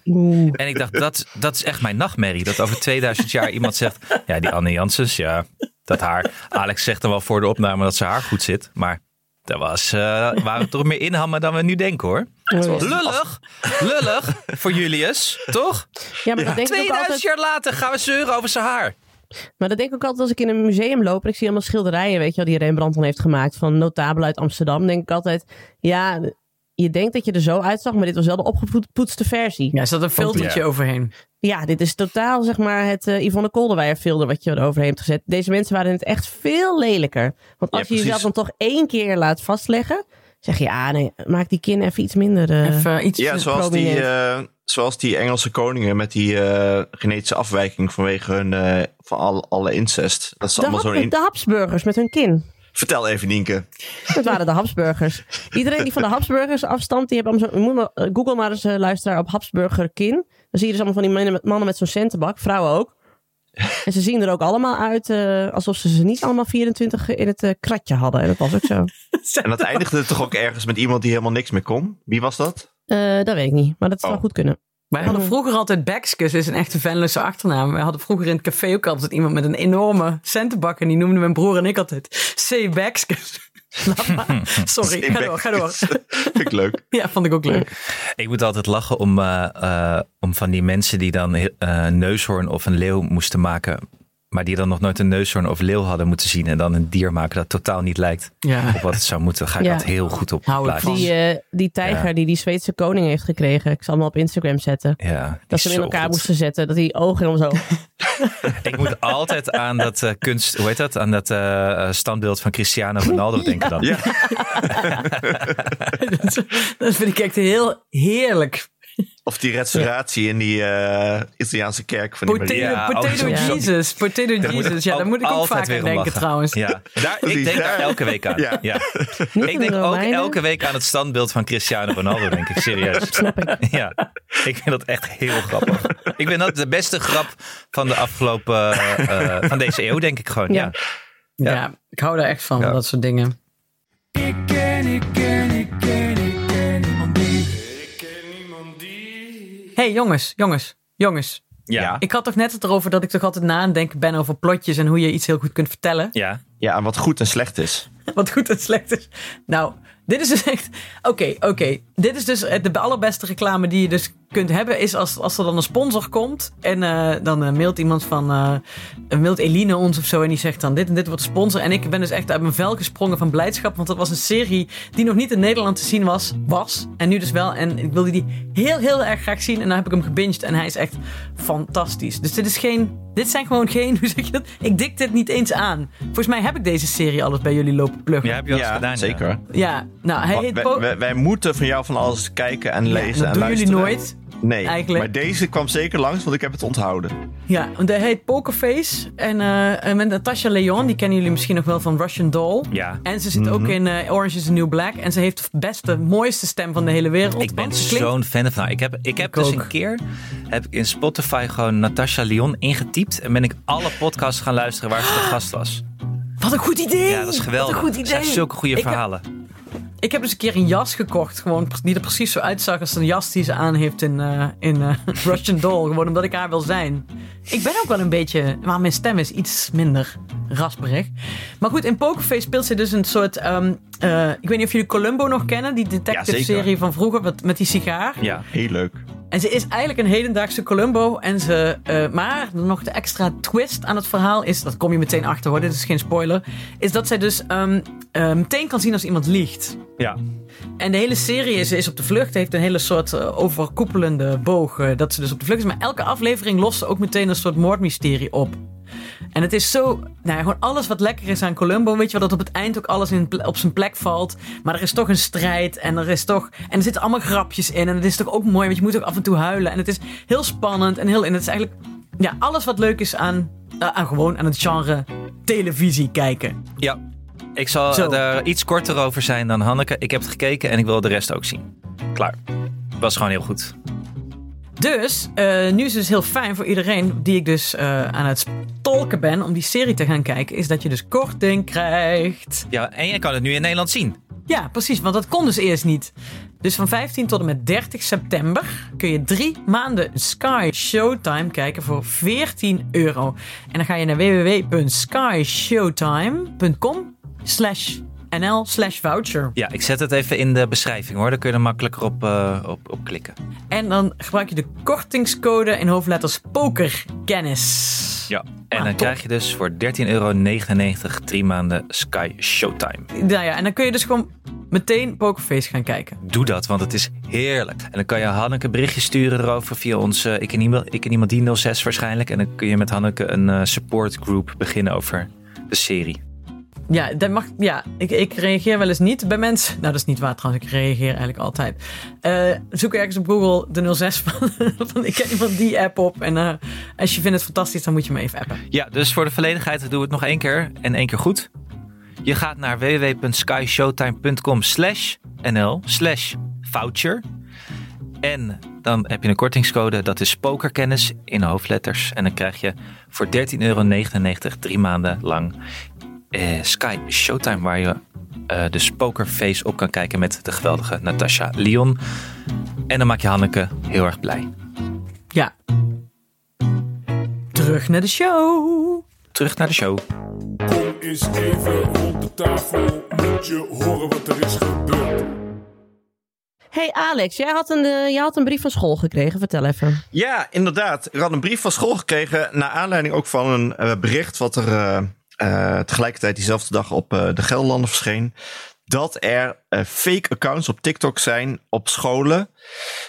[SPEAKER 4] En ik dacht, dat, dat is echt mijn nachtmerrie. Dat over 2000 jaar iemand zegt, ja, die Anne Janssens, ja, dat haar. Alex zegt dan wel voor de opname dat ze haar goed zit. Maar daar was, eh, waren we toch meer inhammen dan we nu denken
[SPEAKER 2] Oh,
[SPEAKER 4] hoor. Lullig, lullig voor Julius, toch?
[SPEAKER 2] Ja, maar dat denk ik ook
[SPEAKER 4] 2000
[SPEAKER 2] altijd.
[SPEAKER 4] jaar later gaan we zeuren over zijn haar.
[SPEAKER 2] Maar dat denk ik ook altijd als ik in een museum loop en ik zie allemaal schilderijen, weet je wel, die Rembrandt dan heeft gemaakt van notabelen uit Amsterdam. denk ik altijd, ja, je denkt dat je er zo uitzag, maar dit was wel de opgepoetste versie.
[SPEAKER 1] Ja, er zat een filtertje
[SPEAKER 4] Ja.
[SPEAKER 1] overheen.
[SPEAKER 2] Ja, dit is totaal zeg maar het eh, Yvonne Kolderweijer filter wat je eroverheen hebt gezet. Deze mensen waren het echt veel lelijker. Want
[SPEAKER 3] Ja,
[SPEAKER 2] als je
[SPEAKER 3] precies.
[SPEAKER 2] jezelf dan toch één keer laat vastleggen, zeg je, ah nee, maak die kin even iets minder... eh,
[SPEAKER 1] Even iets.
[SPEAKER 3] Ja, zoals die, eh, zoals die Engelse koningen met die eh, genetische afwijking vanwege hun, eh, van al, alle incest. Dat is
[SPEAKER 2] de,
[SPEAKER 3] allemaal
[SPEAKER 2] Hab-
[SPEAKER 3] zo'n... in-
[SPEAKER 2] de Habsburgers met hun kin.
[SPEAKER 3] Vertel even, Nienke.
[SPEAKER 2] Dat waren de Habsburgers. Iedereen die van de Habsburgers afstamt, die hebben allemaal zo'n... moet maar- eh, Google maar eens eh, luisteraar op Habsburgerkin. Dan zie je dus allemaal van die mannen met, mannen met zo'n centenbak, vrouwen ook. En ze zien er ook allemaal uit eh, alsof ze ze niet allemaal 24 in het eh, kratje hadden. En dat was ook zo.
[SPEAKER 3] En dat eindigde toch ook ergens met iemand die helemaal niks meer kon? Wie was dat?
[SPEAKER 2] Eh, dat weet ik niet, maar dat zou
[SPEAKER 3] Oh.
[SPEAKER 2] goed kunnen.
[SPEAKER 1] Wij hadden
[SPEAKER 4] Mhm.
[SPEAKER 1] vroeger altijd Bekskes, is een echte Venlose achternaam. Wij hadden vroeger in het café ook altijd iemand met een enorme centenbak. En die noemden mijn broer en ik altijd C. Bekskes. Sorry, ga door, ga door.
[SPEAKER 3] Vind ik leuk.
[SPEAKER 1] Ja, vond ik ook leuk.
[SPEAKER 4] Ik moet altijd lachen om, eh, eh, om van die mensen die dan eh, een neushoorn of een leeuw moesten maken. Maar die dan nog nooit een neushoorn of leeuw hadden moeten zien. En dan een dier maken dat totaal niet lijkt
[SPEAKER 1] Ja.
[SPEAKER 4] op wat het zou moeten. Ga ik
[SPEAKER 2] Ja.
[SPEAKER 4] dat heel goed op
[SPEAKER 1] Hou ik
[SPEAKER 4] plaatsen.
[SPEAKER 1] van.
[SPEAKER 2] Die, eh, die tijger die die Zweedse koning heeft gekregen. Ik zal hem op Instagram zetten.
[SPEAKER 4] Ja, die
[SPEAKER 2] Dat
[SPEAKER 4] is
[SPEAKER 2] ze hem in
[SPEAKER 4] zo
[SPEAKER 2] elkaar
[SPEAKER 4] goed.
[SPEAKER 2] moesten zetten. Dat die ogen om zo...
[SPEAKER 4] Ik moet altijd aan dat eh, kunst, hoe heet dat? Aan dat eh, eh, standbeeld van Cristiano Ronaldo denken dan.
[SPEAKER 3] Ja.
[SPEAKER 1] Dat vind ik echt heel heerlijk.
[SPEAKER 3] Of die restauratie in die eh, Italiaanse kerk van die
[SPEAKER 1] Potato,
[SPEAKER 3] Maria.
[SPEAKER 4] Ja, oh,
[SPEAKER 1] potato
[SPEAKER 4] sorry.
[SPEAKER 1] Jesus. Potato
[SPEAKER 4] Daar moet
[SPEAKER 1] Jesus. Ja, daar moet ik ook
[SPEAKER 4] altijd
[SPEAKER 1] vaak
[SPEAKER 4] weer
[SPEAKER 1] aan
[SPEAKER 4] om
[SPEAKER 1] denken
[SPEAKER 4] lachen.
[SPEAKER 1] trouwens.
[SPEAKER 4] Ja, daar, ik
[SPEAKER 3] Precies,
[SPEAKER 4] denk daar
[SPEAKER 3] daar.
[SPEAKER 4] elke week aan. Ja.
[SPEAKER 3] Ja.
[SPEAKER 2] Niet
[SPEAKER 4] Ik
[SPEAKER 2] van de
[SPEAKER 4] denk ook
[SPEAKER 2] Romeinen.
[SPEAKER 4] elke week aan het standbeeld van Cristiano Ronaldo, denk ik, serieus. Snap ik. Ja, ik vind dat echt heel grappig. Ik vind dat de beste grap van de afgelopen, eh, eh, van deze eeuw, denk ik gewoon. Ja.
[SPEAKER 2] Ja.
[SPEAKER 1] Ja, ik hou daar echt van,
[SPEAKER 4] Ja.
[SPEAKER 1] dat soort dingen.
[SPEAKER 5] Ik ken, ik ken, ik ken, ik ken niemand die. Ik ken niemand die.
[SPEAKER 1] hey, jongens, jongens, jongens.
[SPEAKER 4] Ja. Ja.
[SPEAKER 1] Ik had toch net het erover dat ik toch altijd na aan het denken ben over plotjes en hoe je iets heel goed kunt vertellen.
[SPEAKER 4] ja.
[SPEAKER 3] Ja, en wat goed en slecht is.
[SPEAKER 1] Wat goed en slecht is. Nou, dit is dus echt. Oké, oké. Dit is dus eh, de allerbeste reclame die je dus kunt hebben. Is als, als er dan een sponsor komt. En eh, dan eh, mailt iemand van. eh mailt Eline ons of zo. En die zegt dan: Dit en dit wordt de sponsor. En ik ben dus echt uit mijn vel gesprongen van blijdschap. Want dat was een serie die nog niet in Nederland te zien was. was en nu dus wel. En ik wilde die heel, heel erg graag zien. En dan heb ik hem gebinged. En hij is echt fantastisch. Dus dit is geen. Dit zijn gewoon geen. Hoe zeg je dat? Ik dik dit niet eens aan. Volgens mij heb ik deze serie alles bij jullie lopen pluggen.
[SPEAKER 4] heb je al eens gedaan. ja.
[SPEAKER 3] zeker.
[SPEAKER 1] Ja, nou, hij
[SPEAKER 3] Want
[SPEAKER 1] heet
[SPEAKER 3] wij,
[SPEAKER 1] Po-
[SPEAKER 3] wij- wij moeten van jou van alles kijken en
[SPEAKER 1] Ja,
[SPEAKER 3] lezen
[SPEAKER 1] dat
[SPEAKER 3] en
[SPEAKER 1] doen jullie
[SPEAKER 3] luisteren.
[SPEAKER 1] nooit.
[SPEAKER 3] Nee,
[SPEAKER 1] eigenlijk.
[SPEAKER 3] maar deze kwam zeker langs, want ik heb het onthouden.
[SPEAKER 1] Ja, want hij heet Pokerface. En eh, en met Natasha Leon, die kennen jullie misschien nog wel van Russian Doll.
[SPEAKER 4] Ja. Mhm.
[SPEAKER 1] En ze zit ook in eh, Orange is the New Black. En ze heeft de beste, mooiste stem van de hele wereld.
[SPEAKER 4] Ik ben
[SPEAKER 1] want ze klinkt-
[SPEAKER 4] zo'n fan van haar. Ik heb, ik heb
[SPEAKER 1] Ik
[SPEAKER 4] dus
[SPEAKER 1] ook.
[SPEAKER 4] een keer heb ik in Spotify gewoon Natasha Lyon ingetypt. En ben ik alle podcasts gaan luisteren waar ze de gast was.
[SPEAKER 1] Wat een goed idee!
[SPEAKER 4] Ja, dat is geweldig.
[SPEAKER 1] Wat een goed
[SPEAKER 4] Ze
[SPEAKER 1] idee!
[SPEAKER 4] heeft zulke goede
[SPEAKER 1] Ik heb-
[SPEAKER 4] verhalen.
[SPEAKER 1] Ik heb dus een keer een jas gekocht, gewoon, pre- die er precies zo uitzag als een jas die ze aan heeft in, eh, in eh, Russian Doll. Gewoon omdat ik haar wil zijn. Ik ben ook wel een beetje, maar mijn stem is iets minder rasperig. Maar goed, in Pokerface speelt ze dus een soort, ehm, eh, ik weet niet of jullie Columbo nog kennen, die detective serie
[SPEAKER 3] Jazeker.
[SPEAKER 1] van vroeger wat, met die sigaar.
[SPEAKER 4] Ja.
[SPEAKER 3] Heel leuk.
[SPEAKER 1] En ze is eigenlijk een hedendaagse Columbo. En ze, eh, maar nog de extra twist aan het verhaal is, dat kom je meteen achter hoor, dit is geen spoiler, is dat zij dus ehm, eh, meteen kan zien als iemand liegt.
[SPEAKER 4] Ja.
[SPEAKER 1] En de hele serie is, is op de vlucht. Heeft een hele soort eh, overkoepelende boog. eh, dat ze dus op de vlucht is. Maar elke aflevering lost ze ook meteen een soort moordmysterie op. En het is zo, nou ja, gewoon alles wat lekker is aan Columbo. Weet je wel, dat op het eind ook alles in, ple- op zijn plek valt. Maar er is toch een strijd en er is toch, en er zitten allemaal grapjes in. En het is toch ook mooi, want je moet ook af en toe huilen. En het is heel spannend en heel, en het is eigenlijk, ja, alles wat leuk is aan, eh, aan gewoon aan het genre televisie kijken.
[SPEAKER 4] Ja. Ik zal
[SPEAKER 1] Zo.
[SPEAKER 4] er iets korter over zijn dan Hanneke. Ik heb het gekeken en ik wil de rest ook zien. Klaar. Was gewoon heel goed.
[SPEAKER 1] Dus, eh, nu is het dus heel fijn voor iedereen die ik dus eh, aan het tolken ben om die serie te gaan kijken, is dat je dus korting krijgt.
[SPEAKER 4] Ja, en je kan het nu in Nederland zien.
[SPEAKER 1] Ja, precies, want dat kon dus eerst niet. Dus van 15 tot en met 30 september kun je drie maanden Sky Showtime kijken voor 14 euro. En dan ga je naar www.skyshowtime.com slash nl slash voucher.
[SPEAKER 4] Ja, ik zet het even in de beschrijving hoor. Dan kun je er makkelijker op, eh, op, op klikken.
[SPEAKER 1] En dan gebruik je de kortingscode in hoofdletters pokerkennis.
[SPEAKER 4] Ja. En
[SPEAKER 1] Ah,
[SPEAKER 4] dan
[SPEAKER 1] top.
[SPEAKER 4] krijg je dus voor 13,99 euro drie maanden Sky Showtime.
[SPEAKER 1] Nou ja, en dan kun je dus gewoon meteen Pokerface gaan kijken.
[SPEAKER 4] Doe dat, want het is heerlijk. En dan kan je Hanneke een berichtje sturen erover via ons eh, ik, en iemand, ik en iemand die 06 waarschijnlijk. En dan kun je met Hanneke een eh, support group beginnen over de serie.
[SPEAKER 1] Ja, dat mag, ja ik, ik reageer wel eens niet bij mensen. Nou, dat is niet waar trouwens. Ik reageer eigenlijk altijd. Eh, zoek ergens op Google de 06 van, van ik ken iemand die app op. En eh, als je vindt het fantastisch, dan moet je me even appen.
[SPEAKER 4] Ja, dus voor de volledigheid doen we het nog één keer en één keer goed. Je gaat naar www.skyshowtime.com slash nl slash voucher. En dan heb je een kortingscode, dat is pokerkennis in hoofdletters. En dan krijg je voor 13,99 euro drie maanden lang eh, Sky Showtime... waar je eh dus pokerface op kan kijken met de geweldige Natasha Lyon. En dan maak je Hanneke heel erg blij.
[SPEAKER 1] Ja. Terug naar de show.
[SPEAKER 4] Terug naar de show.
[SPEAKER 5] Kom eens even rond de tafel, moet je horen wat er is gebeurd.
[SPEAKER 2] Hey Alex, jij had, een, eh, jij had een brief van school gekregen. Vertel even.
[SPEAKER 3] Ja, inderdaad. Ik had een brief van school gekregen. Naar aanleiding ook van een eh, bericht wat er eh, eh, tegelijkertijd diezelfde dag op eh, de Gelderlander verscheen. Dat er eh, fake accounts op TikTok zijn op scholen.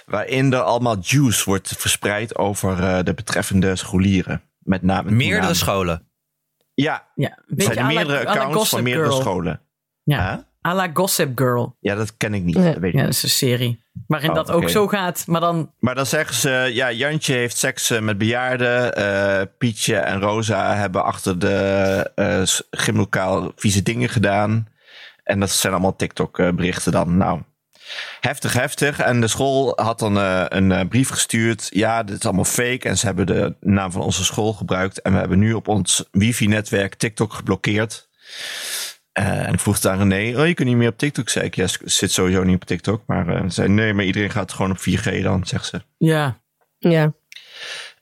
[SPEAKER 3] Waarin er allemaal juice wordt verspreid over eh, de betreffende scholieren. Met name.
[SPEAKER 4] Meerdere
[SPEAKER 3] toename.
[SPEAKER 4] scholen.
[SPEAKER 3] Ja,
[SPEAKER 1] Ja, een
[SPEAKER 3] het
[SPEAKER 1] beetje
[SPEAKER 3] zijn
[SPEAKER 1] à la-
[SPEAKER 3] meerdere
[SPEAKER 1] à la
[SPEAKER 3] accounts
[SPEAKER 1] Gossip
[SPEAKER 3] van meerdere
[SPEAKER 1] Girl.
[SPEAKER 3] scholen.
[SPEAKER 1] Ja.
[SPEAKER 3] Huh?
[SPEAKER 1] À la Gossip Girl.
[SPEAKER 3] Ja, dat ken ik niet.
[SPEAKER 2] Nee.
[SPEAKER 3] Dat weet ik
[SPEAKER 1] Ja,
[SPEAKER 3] niet.
[SPEAKER 1] dat is een serie. Waarin
[SPEAKER 3] Oh,
[SPEAKER 1] dat ook
[SPEAKER 3] oké.
[SPEAKER 1] zo gaat, maar dan...
[SPEAKER 3] Maar dan zeggen ze, ja, Jantje heeft seks eh, met bejaarden. eh, Pietje en Rosa hebben achter de eh, s- gymlokaal vieze dingen gedaan. En dat zijn allemaal TikTok-berichten dan. Nou, heftig, heftig. En de school had dan eh, een eh, brief gestuurd. Ja, dit is allemaal fake. En ze hebben de naam van onze school gebruikt. En we hebben nu op ons wifi-netwerk TikTok geblokkeerd. Eh, en ik vroeg het aan René, oh, je kunt niet meer op TikTok. Zei ik, ja, ik zit sowieso niet op TikTok. Maar eh, ze zei, nee, maar iedereen gaat gewoon op 4G dan, zegt ze.
[SPEAKER 1] Ja,
[SPEAKER 2] Ja.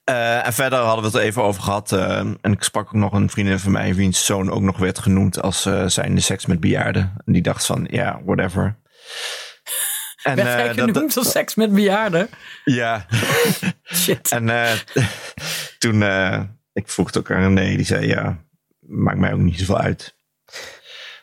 [SPEAKER 3] Eh, en verder hadden we het er even over gehad. eh, en ik sprak ook nog een vriendin van mij, wiens zoon ook nog werd genoemd als eh zijnde seks met bejaarden. En die dacht van, ja, whatever. En,
[SPEAKER 1] werd
[SPEAKER 3] eh,
[SPEAKER 1] hij
[SPEAKER 3] dat-
[SPEAKER 1] genoemd als seks met bejaarden.
[SPEAKER 3] ja,
[SPEAKER 1] Shit.
[SPEAKER 3] en eh, toen, eh, ik vroeg het ook aan René, die zei, ja, maakt mij ook niet zoveel uit.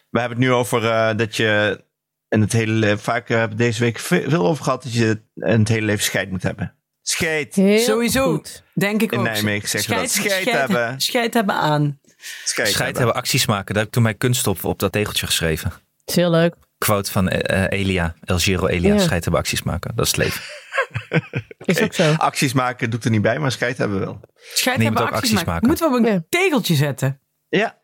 [SPEAKER 3] We hebben het nu over eh, dat je, en het hele, leven- vaak eh, hebben we deze week ve- veel over gehad, dat je in het hele leven scheid moet hebben. Scheid!
[SPEAKER 2] Heel
[SPEAKER 1] Sowieso,
[SPEAKER 2] goed.
[SPEAKER 1] denk ik
[SPEAKER 3] In
[SPEAKER 1] ook.
[SPEAKER 3] Nijmegen zeggen we dat. Scheid
[SPEAKER 1] scheid
[SPEAKER 3] hebben.
[SPEAKER 1] Scheid hebben aan.
[SPEAKER 3] Scheid,
[SPEAKER 4] Scheid
[SPEAKER 3] hebben.
[SPEAKER 4] hebben acties maken. Daar heb ik toen mijn kunststof op dat tegeltje geschreven.
[SPEAKER 2] Is heel leuk.
[SPEAKER 4] quote van eh, eh, Elia, El Giro Elia,
[SPEAKER 2] Ja.
[SPEAKER 4] scheid hebben acties maken. Dat is het leven.
[SPEAKER 2] Is ook zo. Nou,
[SPEAKER 3] Acties maken doet er niet bij, maar scheid hebben we wel.
[SPEAKER 1] Scheid
[SPEAKER 4] Nee, je
[SPEAKER 1] hebben
[SPEAKER 4] moet ook
[SPEAKER 1] acties
[SPEAKER 4] acties
[SPEAKER 1] maken.
[SPEAKER 4] maken.
[SPEAKER 1] Moeten we op een
[SPEAKER 2] Ja.
[SPEAKER 1] tegeltje zetten?
[SPEAKER 3] Ja,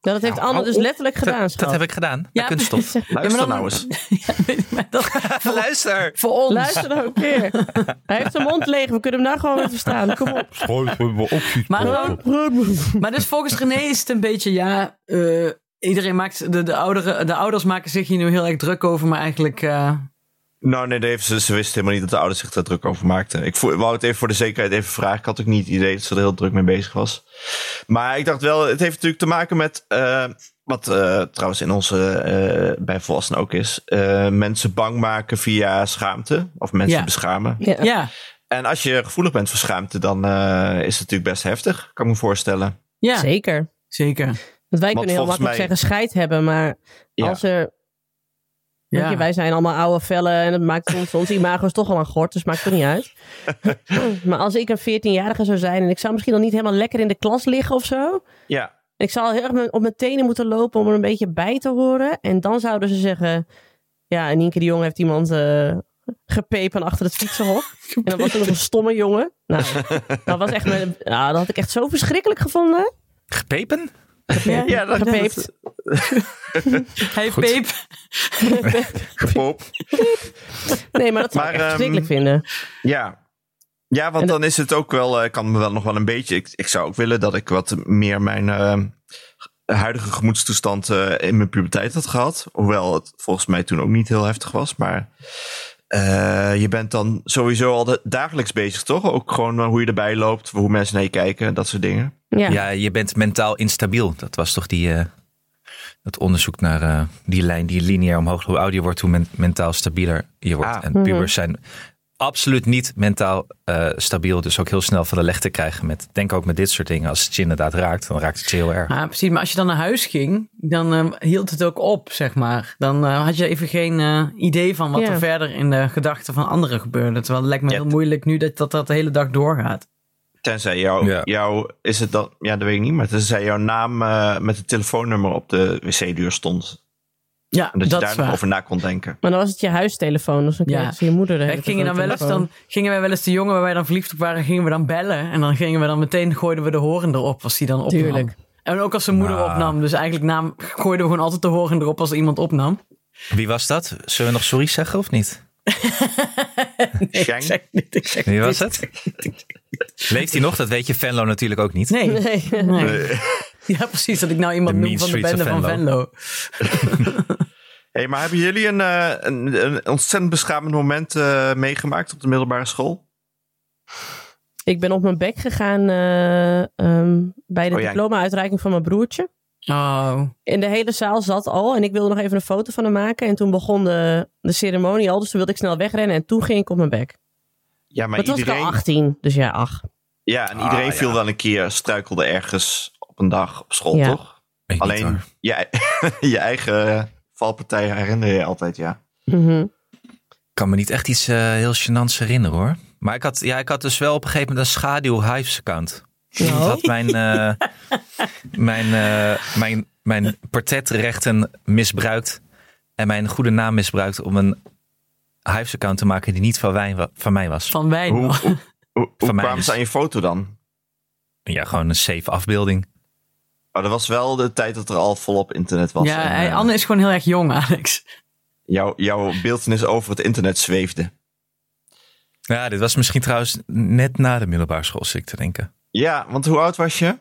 [SPEAKER 2] Nou, dat heeft Anne
[SPEAKER 4] hou
[SPEAKER 2] dus
[SPEAKER 4] op.
[SPEAKER 2] letterlijk gedaan.
[SPEAKER 4] dat, dat
[SPEAKER 2] schat.
[SPEAKER 4] heb ik gedaan. Bij
[SPEAKER 1] Ja,
[SPEAKER 4] kunststof.
[SPEAKER 3] luister
[SPEAKER 1] dan-
[SPEAKER 3] nou eens.
[SPEAKER 1] Ja, weet ik, maar dat-
[SPEAKER 4] Luister.
[SPEAKER 1] voor ons.
[SPEAKER 2] Luister dan ook weer. Hij heeft zijn mond leeg. We kunnen hem nou gewoon weer verstaan. Kom op.
[SPEAKER 1] Maar, gewoon- maar dus volgens René is het een beetje, ja, eh, iedereen maakt, de, de, ouderen, de ouders maken zich hier nu heel erg druk over, maar eigenlijk, eh,
[SPEAKER 3] Nou nee, Dave, ze, ze wist helemaal niet dat de ouders zich daar druk over maakten. Ik vo- wou het even voor de zekerheid even vragen. Ik had ook niet het idee dat ze er heel druk mee bezig was. Maar ik dacht wel, het heeft natuurlijk te maken met... eh, wat eh, trouwens in onze, eh, bij volwassenen ook is. eh, mensen bang maken via schaamte. Of mensen
[SPEAKER 1] Ja.
[SPEAKER 3] beschamen.
[SPEAKER 2] Ja.
[SPEAKER 1] ja,
[SPEAKER 3] En als je gevoelig bent voor schaamte, dan eh, is het natuurlijk best heftig. Kan ik me voorstellen.
[SPEAKER 1] ja, zeker.
[SPEAKER 2] Zeker. Want wij kunnen heel
[SPEAKER 3] volgens
[SPEAKER 2] makkelijk
[SPEAKER 3] mij-
[SPEAKER 2] zeggen scheid hebben, maar
[SPEAKER 3] Ja.
[SPEAKER 2] als er...
[SPEAKER 1] Ja.
[SPEAKER 2] Weet je, wij zijn allemaal oude vellen en het maakt ons, ons imago is toch al aan gort, dus maakt toch niet uit. maar als ik een 14-jarige zou zijn en ik zou misschien dan niet helemaal lekker in de klas liggen of zo.
[SPEAKER 3] Ja,
[SPEAKER 2] Ik zou heel erg mijn- op mijn tenen moeten lopen om er een beetje bij te horen. En dan zouden ze zeggen, ja, en Nienke de Jong heeft iemand eh gepepen achter het fietsenhok. en dan was er nog een stomme jongen. Nou, dat, was echt mijn, nou, dat had ik echt zo verschrikkelijk gevonden.
[SPEAKER 4] Gepepen?
[SPEAKER 1] Ja,
[SPEAKER 3] ja dat,
[SPEAKER 2] Gepeept.
[SPEAKER 3] dat-
[SPEAKER 1] Hey, Peep.
[SPEAKER 3] gepoop.
[SPEAKER 2] Nee, maar dat zou
[SPEAKER 3] Maar,
[SPEAKER 2] ik echt
[SPEAKER 3] ehm,
[SPEAKER 2] verschrikkelijk vinden.
[SPEAKER 3] Ja. Ja, want
[SPEAKER 2] En
[SPEAKER 3] dan is het ook wel, eh, kan me wel nog wel een beetje. Ik, ik zou ook willen dat ik wat meer mijn eh, huidige gemoedstoestand eh, in mijn puberteit had gehad. Hoewel het volgens mij toen ook niet heel heftig was. Maar eh, je bent dan sowieso al de- dagelijks bezig, toch? Ook gewoon eh, hoe je erbij loopt, hoe mensen naar je kijken, dat soort dingen.
[SPEAKER 2] Ja.
[SPEAKER 4] Ja, je bent mentaal instabiel. Dat was toch die, eh, het onderzoek naar eh, die lijn die lineair omhoog. Hoe ouder je wordt, hoe men- mentaal stabieler je wordt.
[SPEAKER 3] Ah.
[SPEAKER 2] Mhm.
[SPEAKER 4] En pubers zijn absoluut niet mentaal eh, stabiel. Dus ook heel snel van de leg te krijgen. Met, denk ook met dit soort dingen. Als het je inderdaad raakt, dan raakt het je heel erg.
[SPEAKER 2] Ah.
[SPEAKER 1] Ja, Ah, precies. Maar als je dan naar huis ging, dan eh, hield het ook op, zeg maar. Dan eh, had je even geen eh, idee van wat
[SPEAKER 2] Ja.
[SPEAKER 1] er verder in de gedachten van anderen gebeurde. Terwijl het lijkt me
[SPEAKER 3] Ja.
[SPEAKER 1] heel moeilijk nu dat, dat dat de hele dag doorgaat.
[SPEAKER 3] Tenzij jou,
[SPEAKER 4] Ja.
[SPEAKER 3] jou is het dan, ja, dat weet ik niet, maar tenzij jouw naam eh, met het telefoonnummer op de wc-deur stond.
[SPEAKER 1] Ja,
[SPEAKER 3] En dat,
[SPEAKER 1] dat,
[SPEAKER 3] je
[SPEAKER 1] is
[SPEAKER 3] daar nog
[SPEAKER 1] waar.
[SPEAKER 3] over na kon denken.
[SPEAKER 2] Maar dan was het je huistelefoon, dus dan
[SPEAKER 1] Ja.
[SPEAKER 2] kreeg ze je moeder. de hele
[SPEAKER 1] Wij
[SPEAKER 2] tijd
[SPEAKER 1] gingen, dan
[SPEAKER 2] aan de
[SPEAKER 1] nou wel eens,
[SPEAKER 2] telefoon.
[SPEAKER 1] dan gingen wij wel eens de jongen waar wij dan verliefd op waren, gingen we dan bellen. En dan gingen we dan meteen, gooiden we de horen erop als die dan opnam.
[SPEAKER 2] Tuurlijk.
[SPEAKER 1] En ook als zijn moeder
[SPEAKER 4] Nou.
[SPEAKER 1] opnam. Dus eigenlijk naam, gooiden we gewoon altijd de horen erop als iemand opnam.
[SPEAKER 4] Wie was dat? Zullen we nog sorry zeggen of niet?
[SPEAKER 1] Nee,
[SPEAKER 3] Schenk?
[SPEAKER 1] ik zeg niet. Ik zeg
[SPEAKER 4] Wie
[SPEAKER 1] niet.
[SPEAKER 4] was het? Leeft hij nog? Dat weet je Venlo natuurlijk ook niet.
[SPEAKER 1] Nee.
[SPEAKER 2] Nee.
[SPEAKER 1] nee.
[SPEAKER 3] Eh,
[SPEAKER 1] Ja, precies. Dat ik nou iemand
[SPEAKER 4] The
[SPEAKER 1] noem
[SPEAKER 4] mean
[SPEAKER 1] van de
[SPEAKER 4] streets
[SPEAKER 1] bende
[SPEAKER 4] of
[SPEAKER 1] van Venlo.
[SPEAKER 3] hey, maar hebben jullie een, eh, een, een ontzettend beschamend moment eh, meegemaakt op de middelbare school?
[SPEAKER 2] Ik ben op mijn bek gegaan eh, ehm, bij de
[SPEAKER 3] Oh, ja.
[SPEAKER 2] diploma-uitreiking van mijn broertje.
[SPEAKER 1] Oh,
[SPEAKER 2] In de hele zaal zat al en ik wilde nog even een foto van hem maken. En toen begon de, de ceremonie al, dus toen wilde ik snel wegrennen. En toen ging ik op mijn bek.
[SPEAKER 3] Ja, maar
[SPEAKER 2] Maar toen was ik al
[SPEAKER 3] iedereen,
[SPEAKER 2] 18, dus ja, ach.
[SPEAKER 3] ja, en iedereen
[SPEAKER 4] Ah,
[SPEAKER 3] viel
[SPEAKER 4] ja.
[SPEAKER 3] wel een keer, struikelde ergens op een dag op school,
[SPEAKER 2] Ja.
[SPEAKER 3] toch?
[SPEAKER 4] Ik niet,
[SPEAKER 3] Alleen
[SPEAKER 4] hoor.
[SPEAKER 3] je, je eigen valpartij herinner je altijd, ja.
[SPEAKER 2] Mhm.
[SPEAKER 4] Ik kan me niet echt iets eh, heel gênants herinneren hoor. Maar ik had, ja, ik had dus wel op een gegeven moment een schaduw Hives account. Iemand had mijn, eh, mijn, eh, mijn, mijn portretrechten misbruikt. En mijn goede naam misbruikt om een Hives account te maken die niet van, wij, wa- van mij was.
[SPEAKER 1] van wijn.
[SPEAKER 3] Hoe, hoe, hoe- hoe
[SPEAKER 4] Van mij
[SPEAKER 3] kwamen
[SPEAKER 4] is-
[SPEAKER 3] ze aan je foto dan?
[SPEAKER 4] Ja, gewoon een safe afbeelding.
[SPEAKER 3] Oh, dat was wel de tijd dat er al volop internet was.
[SPEAKER 1] ja,
[SPEAKER 3] en,
[SPEAKER 1] hij-
[SPEAKER 3] eh,
[SPEAKER 1] Anne is gewoon heel erg jong, Alex.
[SPEAKER 3] jouw, jouw beeldenis over het internet zweefde.
[SPEAKER 4] Ja, dit was misschien trouwens net na de middelbare school, zit ik te denken.
[SPEAKER 3] Ja, want hoe oud was je?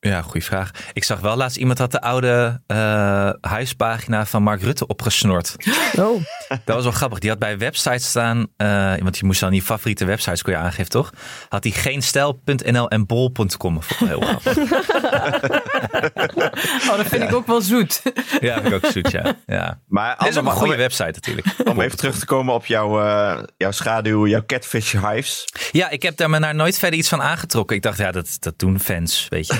[SPEAKER 4] Ja, goede vraag. Ik zag wel laatst iemand had de oude eh huispagina van Mark Rutte opgesnort.
[SPEAKER 2] Oh,
[SPEAKER 4] Dat was wel grappig. Die had bij websites staan, eh, want je moest dan die favoriete websites kon je aangeven, toch? Had hij geenstijl.nl en bol.com. Vond ik wel heel grappig.
[SPEAKER 1] Oh, dat vind ik ook wel zoet.
[SPEAKER 4] ja, vind ik ook zoet, ja. ja.
[SPEAKER 3] Maar
[SPEAKER 4] Dat is ook een
[SPEAKER 3] allemaal-
[SPEAKER 4] goede website natuurlijk.
[SPEAKER 3] Om even terug te komen op jouw, eh, jouw schaduw, jouw catfish hives.
[SPEAKER 4] Ja, ik heb daar me naar nooit verder iets van aangetrokken. Ik dacht, ja, dat, dat doen fans, weet je.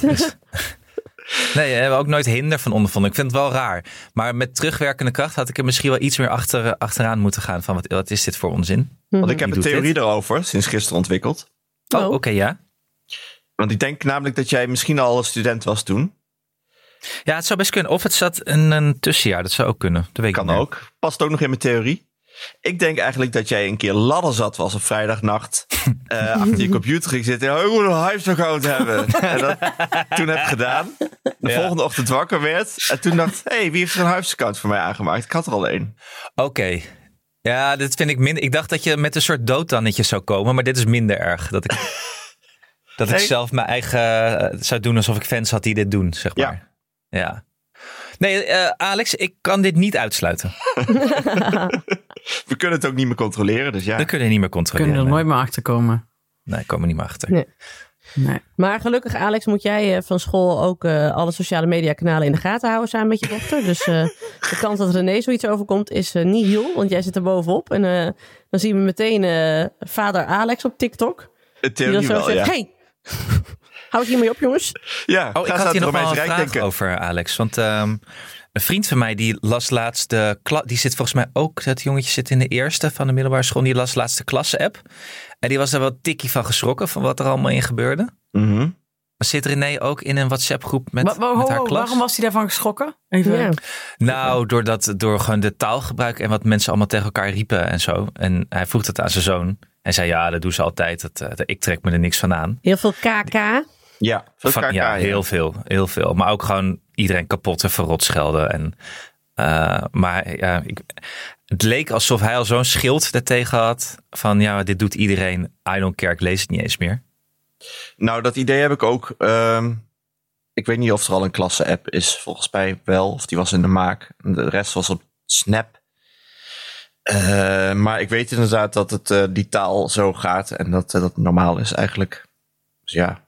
[SPEAKER 4] Dus- Nee, daar hebben we ook nooit hinder van ondervonden. Ik vind het wel raar. Maar met terugwerkende kracht had ik er misschien wel iets meer achter, achteraan moeten gaan. Van wat, wat is dit voor onzin?
[SPEAKER 3] Want ik heb
[SPEAKER 4] Wie
[SPEAKER 3] een
[SPEAKER 4] doet
[SPEAKER 3] theorie
[SPEAKER 4] dit?
[SPEAKER 3] daarover sinds gisteren ontwikkeld.
[SPEAKER 4] Oh,
[SPEAKER 2] Oh.
[SPEAKER 4] oké, ja.
[SPEAKER 3] Want ik denk namelijk dat jij misschien al een student was toen.
[SPEAKER 4] Ja, het zou best kunnen. Of het zat een, een tussenjaar. Dat zou ook kunnen. Dat weet
[SPEAKER 3] Kan
[SPEAKER 4] ik niet.
[SPEAKER 3] ook. Past ook nog in mijn theorie. Ik denk eigenlijk dat jij een keer ladderzat was op vrijdagnacht. eh, achter je computer ging zitten. Oh, ik moet een hives account hebben. En dat toen heb gedaan. De
[SPEAKER 4] Ja.
[SPEAKER 3] volgende ochtend wakker werd. En toen dacht hé, hey, wie heeft er een hives account voor mij aangemaakt? Ik had er al één.
[SPEAKER 4] Oké. Ja, dit vind ik minder. Ik dacht dat je met een soort dooddannetje zou komen, maar dit is minder erg. Dat ik, dat ik
[SPEAKER 3] Nee.
[SPEAKER 4] zelf mijn eigen eh, zou doen alsof ik fans had die dit doen, zeg
[SPEAKER 3] Ja.
[SPEAKER 4] maar. Ja. Nee, eh, Alex, ik kan dit niet uitsluiten.
[SPEAKER 3] We kunnen het ook niet meer controleren, dus ja.
[SPEAKER 4] Dat kunnen we niet meer
[SPEAKER 1] We kunnen
[SPEAKER 4] controleren.
[SPEAKER 1] er nooit meer achter komen.
[SPEAKER 4] Nee, ik kom er niet meer achter.
[SPEAKER 2] Nee.
[SPEAKER 1] Nee.
[SPEAKER 2] Maar gelukkig, Alex, moet jij eh, van school ook eh, alle sociale mediakanalen in de gaten houden samen met je dochter. Dus eh, de kans dat René zoiets overkomt is eh, niet heel, want jij zit er bovenop. En eh, dan zien we meteen eh, vader Alex op TikTok.
[SPEAKER 3] Een
[SPEAKER 2] Die dan
[SPEAKER 3] theorie
[SPEAKER 2] zo
[SPEAKER 3] wel,
[SPEAKER 2] zegt,
[SPEAKER 3] ja.
[SPEAKER 2] hey, hou eens hiermee op jongens.
[SPEAKER 3] Ja,
[SPEAKER 4] Oh, ik
[SPEAKER 3] ga eens
[SPEAKER 4] had
[SPEAKER 3] aan
[SPEAKER 4] hier
[SPEAKER 3] het
[SPEAKER 4] nog wel een
[SPEAKER 3] Romeinse
[SPEAKER 4] vraag
[SPEAKER 3] Rijk denken.
[SPEAKER 4] over, Alex. Want ehm, een vriend van mij die las laatst de kla- Die zit volgens mij ook, dat jongetje zit in de eerste van de middelbare school. Die las laatst de klasse-app. En die was daar wel tikkie van geschrokken van wat er allemaal in gebeurde.
[SPEAKER 3] Mhm.
[SPEAKER 4] Zit René ook in een WhatsApp-groep met,
[SPEAKER 1] Wa- wa- ho-
[SPEAKER 4] met haar
[SPEAKER 1] ho,
[SPEAKER 4] klas?
[SPEAKER 1] waarom was hij daarvan geschrokken? Even.
[SPEAKER 2] Ja.
[SPEAKER 4] Nou, doordat, door gewoon de taalgebruik en wat mensen allemaal tegen elkaar riepen en zo. En hij vroeg dat aan zijn zoon. Hij zei, ja, dat doen ze altijd. Dat, eh, ik trek me er niks van aan.
[SPEAKER 2] Heel veel KK.
[SPEAKER 3] Ja, veel
[SPEAKER 4] Van-
[SPEAKER 3] KK,
[SPEAKER 4] ja, heel veel, heel veel. Maar ook gewoon iedereen kapot en verrot schelden. En, eh, maar ja, ik, het leek alsof hij al zo'n schild daartegen had. Van ja, dit doet iedereen. I don't care, ik lees het niet eens meer.
[SPEAKER 3] Nou, dat idee heb ik ook. ehm, ik weet niet of er al een klasse-app is. Volgens mij wel. Of die was in de maak. De rest was op Snap. Eh, maar ik weet inderdaad dat het, eh, die taal zo gaat. En dat eh, dat normaal is eigenlijk. Dus ja.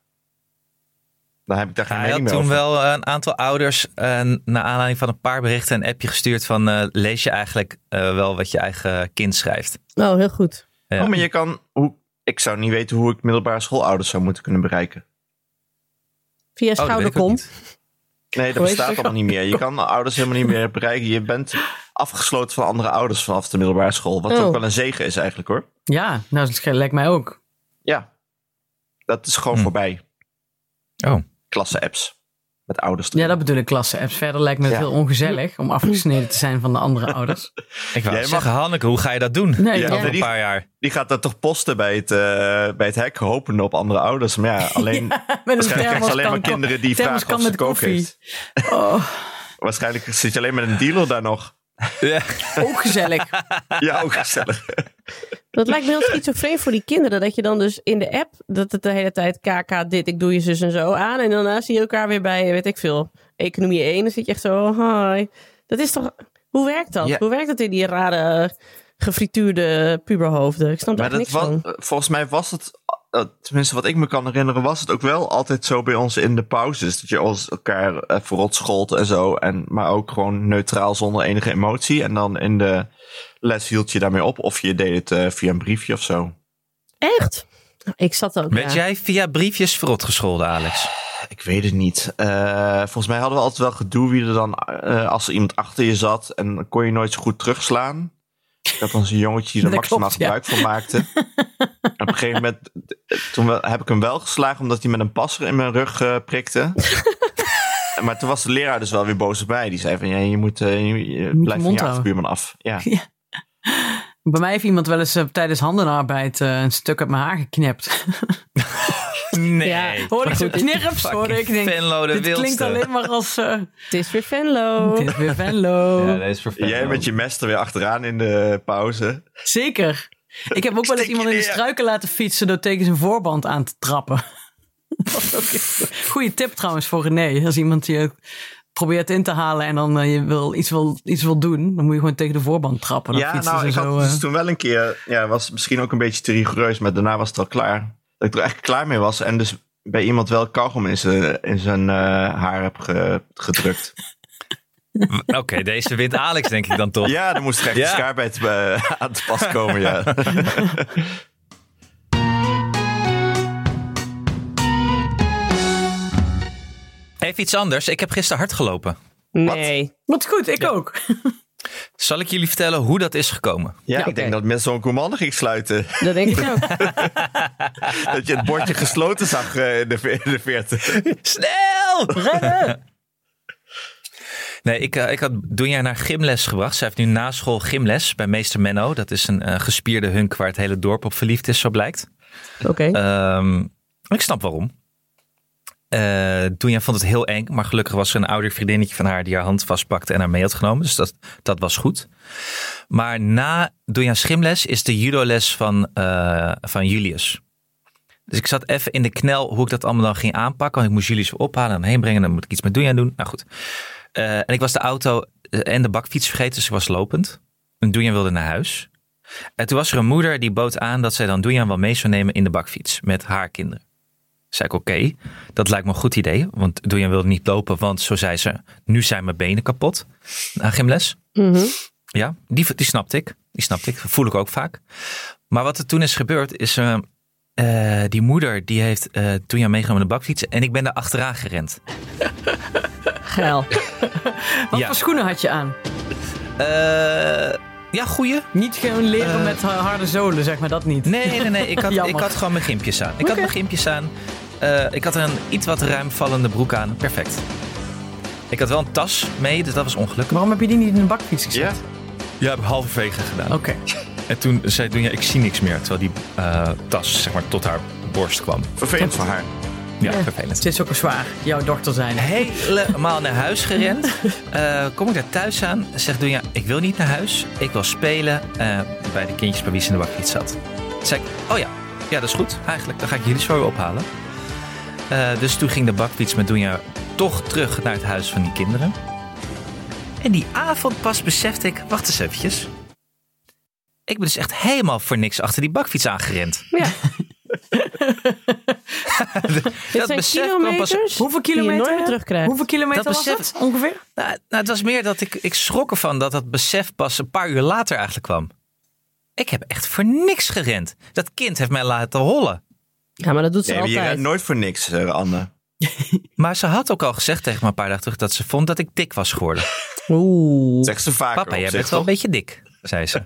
[SPEAKER 3] Daar heb ik daar geen
[SPEAKER 4] Hij
[SPEAKER 3] mening
[SPEAKER 4] had
[SPEAKER 3] meer
[SPEAKER 4] toen
[SPEAKER 3] over.
[SPEAKER 4] wel eh, een aantal ouders, eh, naar aanleiding van een paar berichten, een appje gestuurd van eh, lees je eigenlijk eh, wel wat je eigen kind schrijft.
[SPEAKER 2] Oh, heel goed.
[SPEAKER 4] Ja.
[SPEAKER 3] Oh, maar je kan... Hoe, ik zou niet weten hoe ik middelbare schoolouders zou moeten kunnen bereiken.
[SPEAKER 2] Via
[SPEAKER 4] Oh, dat weet ik ook
[SPEAKER 2] schouderkom.
[SPEAKER 4] niet.
[SPEAKER 3] Nee, dat
[SPEAKER 2] Hoe heet
[SPEAKER 3] bestaat
[SPEAKER 2] het?
[SPEAKER 3] allemaal niet meer. Je kan ouders helemaal niet meer bereiken. Je bent afgesloten van andere ouders vanaf de middelbare school. Wat
[SPEAKER 2] Oh.
[SPEAKER 3] ook wel een zegen is eigenlijk hoor.
[SPEAKER 1] Ja, nou, dat lijkt mij ook.
[SPEAKER 3] Ja, dat is gewoon
[SPEAKER 4] Hm.
[SPEAKER 3] voorbij.
[SPEAKER 4] Oh.
[SPEAKER 3] Klasse-apps met ouders.
[SPEAKER 1] Ja, dat bedoel ik, klasse-apps. Verder lijkt me het
[SPEAKER 3] Ja.
[SPEAKER 1] heel ongezellig om afgesneden te zijn van de andere ouders.
[SPEAKER 4] Ik wou
[SPEAKER 3] Jij mag-
[SPEAKER 4] zeggen, Hanneke, hoe ga je dat doen?
[SPEAKER 1] Nee,
[SPEAKER 3] Ja,
[SPEAKER 1] ja.
[SPEAKER 4] Over een
[SPEAKER 3] die-
[SPEAKER 4] paar jaar.
[SPEAKER 3] Die gaat dat toch posten bij het, eh, bij het hek, hopende op andere ouders. Maar ja, alleen,
[SPEAKER 1] met een
[SPEAKER 3] waarschijnlijk krijg je alleen maar
[SPEAKER 1] thermoskan.
[SPEAKER 3] kinderen die vragen
[SPEAKER 1] thermoskan
[SPEAKER 3] of ze
[SPEAKER 1] met
[SPEAKER 3] kook
[SPEAKER 1] koffie.
[SPEAKER 3] heeft.
[SPEAKER 1] Oh,
[SPEAKER 3] Waarschijnlijk zit je alleen met een dealer daar nog.
[SPEAKER 4] Ja.
[SPEAKER 1] ook gezellig.
[SPEAKER 3] Ja, ook gezellig.
[SPEAKER 2] Dat lijkt me heel schizofreen voor die kinderen. Dat je dan dus in de app, dat het de hele tijd KK dit, ik doe je zus en zo aan. En daarna zie je elkaar weer bij, weet ik veel, economie 1. Dan zit je echt zo, oh, hi. Dat is toch, hoe werkt dat?
[SPEAKER 3] Ja.
[SPEAKER 2] Hoe werkt dat in die rare gefrituurde puberhoofden? Ik snap daar
[SPEAKER 3] Maar
[SPEAKER 2] echt
[SPEAKER 3] dat
[SPEAKER 2] niks
[SPEAKER 3] was,
[SPEAKER 2] van.
[SPEAKER 3] volgens mij was het, eh, tenminste wat ik me kan herinneren, was het ook wel altijd zo bij ons in de pauzes. Dat je ons elkaar eh, verrot schold en zo. En, maar ook gewoon neutraal zonder enige emotie. En dan in de les hield je daarmee op. Of je deed het eh, via een briefje of zo.
[SPEAKER 2] Echt? Ik zat ook,
[SPEAKER 4] Werd
[SPEAKER 2] ja.
[SPEAKER 4] jij via briefjes verrot gescholden, Alex?
[SPEAKER 3] Ik weet het niet. Eh, volgens mij hadden we altijd wel gedoe wie er dan, eh, als er iemand achter je zat. En dan kon je nooit zo goed terugslaan. Ik had dan zo'n jongetje die er
[SPEAKER 1] Dat
[SPEAKER 3] maximaal
[SPEAKER 1] klopt, ja.
[SPEAKER 3] gebruik van maakte. En op een gegeven moment, eh, toen wel- heb ik hem wel geslagen omdat hij met een passer in mijn rug eh, prikte. maar toen was de leraar dus wel weer boos op mij. Die zei van, ja, je moet, eh, je- je
[SPEAKER 1] mond
[SPEAKER 3] blijf van je
[SPEAKER 1] houden.
[SPEAKER 3] achterbuurman af. Ja.
[SPEAKER 1] Bij mij heeft iemand wel eens eh, tijdens handenarbeid eh, een stuk uit mijn haar geknipt.
[SPEAKER 4] Nee.
[SPEAKER 2] Ja,
[SPEAKER 1] hoor ik zo knirps,
[SPEAKER 4] Fucking
[SPEAKER 1] hoor ik. Denk,
[SPEAKER 4] Venlo de
[SPEAKER 1] dit
[SPEAKER 4] Wildste.
[SPEAKER 1] klinkt alleen maar als... eh
[SPEAKER 2] Het is weer Venlo.
[SPEAKER 1] dit is weer Venlo.
[SPEAKER 4] Ja, dat is voor Venlo.
[SPEAKER 3] Jij met je mes er weer achteraan in de pauze.
[SPEAKER 1] Zeker. Ik heb ook wel eens
[SPEAKER 3] Steek je
[SPEAKER 1] iemand in de
[SPEAKER 3] neer.
[SPEAKER 1] struiken laten fietsen door tegen zijn voorband aan te trappen. Dat was ook heel- Goeie tip trouwens voor René. Als iemand je probeert in te halen en dan eh, je wil, iets, wil, iets wil doen, dan moet je gewoon tegen de voorband trappen. Dan
[SPEAKER 3] Ja,
[SPEAKER 1] fietsen
[SPEAKER 3] nou,
[SPEAKER 1] ze
[SPEAKER 3] ik
[SPEAKER 1] zo,
[SPEAKER 3] had
[SPEAKER 1] eh,
[SPEAKER 3] dus toen wel een keer... Ja, was misschien ook een beetje te rigoureus, maar daarna was het al klaar. Dat ik er echt klaar mee was en dus bij iemand wel kauwgom in zijn, in zijn eh, haar heb ge- gedrukt.
[SPEAKER 4] Oké, deze wint Alex denk ik dan toch.
[SPEAKER 3] ja, dan moest er echt
[SPEAKER 4] Ja.
[SPEAKER 3] de schaarbeid eh, aan te pas komen, ja.
[SPEAKER 4] Even iets anders. Ik heb gisteren hard gelopen.
[SPEAKER 2] Nee.
[SPEAKER 1] Wat goed, ik ook.
[SPEAKER 4] Zal ik jullie vertellen hoe dat is gekomen?
[SPEAKER 3] Ja,
[SPEAKER 2] oké.
[SPEAKER 3] ik denk dat mensen zo'n commande ging sluiten.
[SPEAKER 2] Dat denk ik ook.
[SPEAKER 3] dat je het bordje gesloten zag eh, in de, ve- in de veertig.
[SPEAKER 4] Snel! Rennen! Nee, ik, eh, ik had Doenja naar gymles gebracht. Zij heeft nu na school gymles bij meester Menno. Dat is een eh, gespierde hunk waar het hele dorp op verliefd is, zo blijkt.
[SPEAKER 2] Oké.
[SPEAKER 4] Ehm, ik snap waarom. Eh Doenja vond het heel eng, maar gelukkig was er een ouder vriendinnetje van haar die haar hand vastpakte en haar mee had genomen. Dus dat, dat was goed. Maar na Doenja's gymles is de judoles van, eh, van Julius. Dus ik zat even in de knel hoe ik dat allemaal dan ging aanpakken. Want ik moest Julius ophalen en heen brengen. Dan moet ik iets met Doenja doen. Nou goed. Eh, en ik was de auto eh, en de bakfiets vergeten, dus ik was lopend. En Doenja wilde naar huis. En toen was er een moeder die bood aan dat zij dan Doenjan wel mee zou nemen in de bakfiets met haar kinderen. Zei ik, oké, dat lijkt me een goed idee. Want Doenjan wilde niet lopen, want zo zei ze, nu zijn mijn benen kapot. Na gymles.
[SPEAKER 2] Mhm.
[SPEAKER 4] Ja, die, die snapte ik. Die snapte ik. Voel ik ook vaak. Maar wat er toen is gebeurd, is eh, eh, die moeder die heeft eh Doenjan meegenomen in de bakfiets. En ik ben daar achteraan gerend.
[SPEAKER 2] Geil.
[SPEAKER 1] Wat
[SPEAKER 4] Ja.
[SPEAKER 1] voor schoenen had je aan?
[SPEAKER 4] Eh, ja, goeie.
[SPEAKER 1] Niet gewoon leren
[SPEAKER 4] Eh.
[SPEAKER 1] met eh, harde zolen, zeg maar, dat niet.
[SPEAKER 4] Nee, nee, nee. Ik had, ik
[SPEAKER 1] Jammer.
[SPEAKER 4] had gewoon mijn gimpjes aan. Ik had
[SPEAKER 1] Oké.
[SPEAKER 4] mijn gimpjes aan. Eh, ik had er een iets wat ruimvallende broek aan. Perfect. Ik had wel een tas mee, dus dat was ongeluk.
[SPEAKER 1] Waarom heb je die niet in de bakfiets gezet?
[SPEAKER 3] Ja,
[SPEAKER 4] Ja, heb halverwege gedaan.
[SPEAKER 1] Oké.
[SPEAKER 4] En toen zei Doenja, ik zie niks meer. Terwijl die eh, tas zeg maar tot haar borst kwam.
[SPEAKER 3] vervelend voor haar.
[SPEAKER 4] Ja,
[SPEAKER 1] Ja.
[SPEAKER 4] vervelend.
[SPEAKER 1] Het is ook al zwaar, jouw dochter zijn.
[SPEAKER 4] Helemaal naar huis gerend. Eh, kom ik daar thuis aan, zegt Doenja, ik wil niet naar huis. Ik wil spelen eh, bij de kindjes bij wie ze in de bakfiets zat. Toen zei ik, oh ja, ja, dat is goed eigenlijk. Dan ga ik jullie zo weer ophalen. Eh, dus toen ging de bakfiets met Doenja toch terug naar het huis van die kinderen. En die avond pas besefte ik, wacht eens eventjes. Ik ben dus echt helemaal voor niks achter die bakfiets aangerend.
[SPEAKER 2] Ja,
[SPEAKER 4] dat
[SPEAKER 2] het zijn
[SPEAKER 4] besef kwam pas...
[SPEAKER 2] kilometers
[SPEAKER 1] Hoeveel
[SPEAKER 2] die
[SPEAKER 1] kilometer?
[SPEAKER 2] je nooit meer terugkrijgt.
[SPEAKER 1] Hoeveel kilometer
[SPEAKER 4] Dat
[SPEAKER 1] was
[SPEAKER 4] besef-
[SPEAKER 1] dat ongeveer?
[SPEAKER 4] Nou, nou, het was meer dat ik, ik schrok ervan dat dat besef pas een paar uur later eigenlijk kwam. Ik heb echt voor niks gerend. Dat kind heeft mij laten hollen.
[SPEAKER 2] Ja, maar dat doet ze
[SPEAKER 3] Nee, maar je
[SPEAKER 2] altijd.
[SPEAKER 3] rent nooit voor niks, eh, Anne.
[SPEAKER 4] Maar ze had ook al gezegd tegen me een paar dagen terug dat ze vond dat ik dik was geworden.
[SPEAKER 2] Oeh.
[SPEAKER 3] Zegt ze vaker.
[SPEAKER 4] Papa,
[SPEAKER 3] op
[SPEAKER 4] jij
[SPEAKER 3] zich,
[SPEAKER 4] bent wel een
[SPEAKER 3] toch?
[SPEAKER 4] beetje dik, zei ze.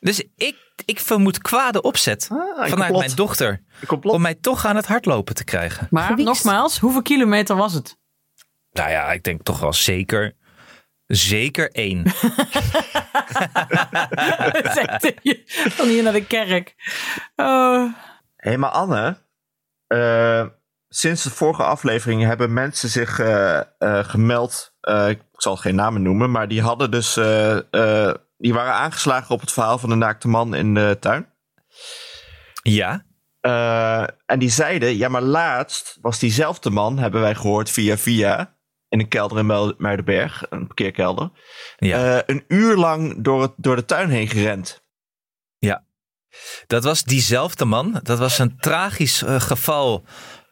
[SPEAKER 4] Dus ik, ik vermoed kwade opzet
[SPEAKER 3] een
[SPEAKER 4] vanuit
[SPEAKER 3] Ah, complot.
[SPEAKER 4] mijn dochter
[SPEAKER 3] Een complot.
[SPEAKER 4] om mij toch aan het hardlopen te krijgen.
[SPEAKER 1] Maar
[SPEAKER 2] Gewiekst.
[SPEAKER 1] nogmaals, hoeveel kilometer was het?
[SPEAKER 4] Nou ja, ik denk toch wel zeker, zeker één.
[SPEAKER 1] Zegt hij, Van hier naar de kerk. Eh,
[SPEAKER 3] Hé, maar Anne. eh, sinds de vorige aflevering hebben mensen zich eh, eh, gemeld. Eh, ik zal geen namen noemen, maar die hadden dus. eh, eh, die waren aangeslagen op het verhaal van de naakte man in de tuin.
[SPEAKER 4] Ja,
[SPEAKER 3] Eh, en die zeiden, ja, maar laatst was diezelfde man, hebben wij gehoord via via, in een kelder in Muil- Muidenberg, een parkeerkelder,
[SPEAKER 4] ja.
[SPEAKER 3] eh, een uur lang door, het, door de tuin heen gerend.
[SPEAKER 4] Dat was diezelfde man. Dat was een tragisch eh, geval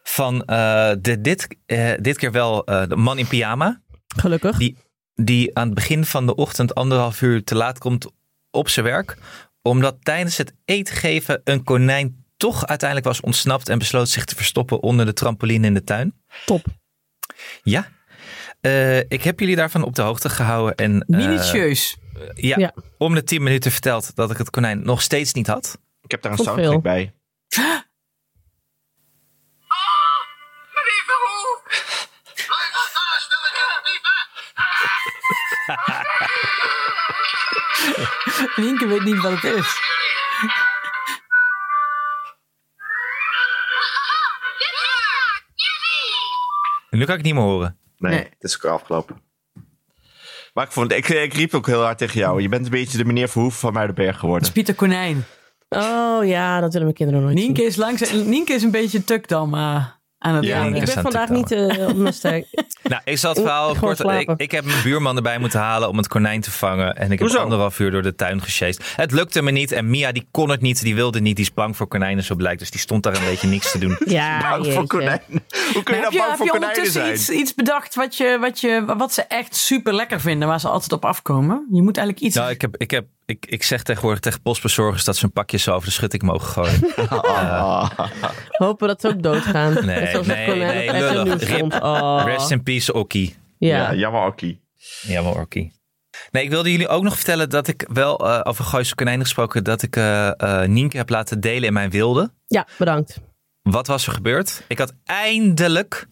[SPEAKER 4] van eh, de, dit, eh, dit keer wel eh, de man in pyjama.
[SPEAKER 2] Gelukkig.
[SPEAKER 4] Die, die aan het begin van de ochtend anderhalf uur te laat komt op zijn werk. Omdat tijdens het eten geven een konijn toch uiteindelijk was ontsnapt en besloot zich te verstoppen onder de trampoline in de tuin.
[SPEAKER 2] Top.
[SPEAKER 4] Ja. Eh, ik heb jullie daarvan op de hoogte gehouden. En, eh,
[SPEAKER 1] minutieus.
[SPEAKER 4] ja,
[SPEAKER 2] Ja.
[SPEAKER 4] om de tien minuten verteld dat ik het konijn nog steeds niet had.
[SPEAKER 3] Ik heb daar een
[SPEAKER 2] Tot
[SPEAKER 3] soundtrack
[SPEAKER 2] veel.
[SPEAKER 3] bij.
[SPEAKER 1] Linke Eh, weet niet wat het is.
[SPEAKER 4] Nu kan ik het niet meer horen.
[SPEAKER 3] Nee,
[SPEAKER 1] Nee.
[SPEAKER 3] het is ook afgelopen. Maar ik, vond, ik, ik riep ook heel hard tegen jou. Je bent een beetje de meneer Verhoeven van Muidenberg geworden.
[SPEAKER 1] Pieter Konijn.
[SPEAKER 2] Oh ja, dat willen mijn kinderen nooit zien.
[SPEAKER 1] Nienke is, langs, Nienke is een beetje tukdam eh, aan het
[SPEAKER 3] Ja,
[SPEAKER 1] worden.
[SPEAKER 4] Nienke.
[SPEAKER 2] Ik
[SPEAKER 4] is
[SPEAKER 2] ben
[SPEAKER 4] aan het
[SPEAKER 2] vandaag niet eh, op mijn sterk.
[SPEAKER 4] Nou, ik zal het verhaal
[SPEAKER 2] Gewoon
[SPEAKER 4] kort... Ik,
[SPEAKER 2] slapen.
[SPEAKER 4] ik heb mijn buurman erbij moeten halen om het konijn te vangen. En ik heb
[SPEAKER 3] Hoezo?
[SPEAKER 4] anderhalf uur door de tuin gesjeest. Het lukte me niet. En Mia, die kon het niet. Die wilde niet. Die is bang voor konijnen, zo blijkt. Dus die stond daar een beetje niks te doen.
[SPEAKER 2] Ja,
[SPEAKER 3] Bang voor
[SPEAKER 2] jeetje.
[SPEAKER 3] konijnen. Hoe kun je
[SPEAKER 1] heb
[SPEAKER 3] nou
[SPEAKER 1] je,
[SPEAKER 3] bang
[SPEAKER 1] heb
[SPEAKER 3] voor
[SPEAKER 1] je
[SPEAKER 3] konijnen
[SPEAKER 1] ondertussen
[SPEAKER 3] zijn?
[SPEAKER 1] iets, iets bedacht wat, je, wat, je, wat ze echt super lekker vinden, waar ze altijd op afkomen? Je moet eigenlijk iets.
[SPEAKER 4] Nou, ik, heb, ik, heb, ik, ik zeg tegenwoordig tegen postbezorgers dat ze hun pakjes zo over de schutting mogen gooien.
[SPEAKER 3] Ah.
[SPEAKER 2] Hopen dat ze ook doodgaan.
[SPEAKER 4] Nee,
[SPEAKER 2] Net zoals
[SPEAKER 4] nee,
[SPEAKER 2] dat konijn
[SPEAKER 4] nee,
[SPEAKER 2] dat net zo
[SPEAKER 4] lullig.
[SPEAKER 2] nieuw
[SPEAKER 4] Rip.
[SPEAKER 2] stond. Oh.
[SPEAKER 4] Rest in peace, Okkie.
[SPEAKER 3] Ja,
[SPEAKER 2] Ja.
[SPEAKER 3] jammer, Akkie.
[SPEAKER 4] Jammer, Orkie. Nee, ik wilde jullie ook nog vertellen dat ik wel eh, over Gooise Konijnen gesproken... dat ik eh, eh, Nienke heb laten delen in mijn wilde.
[SPEAKER 2] ja, bedankt.
[SPEAKER 4] Wat was er gebeurd? Ik had eindelijk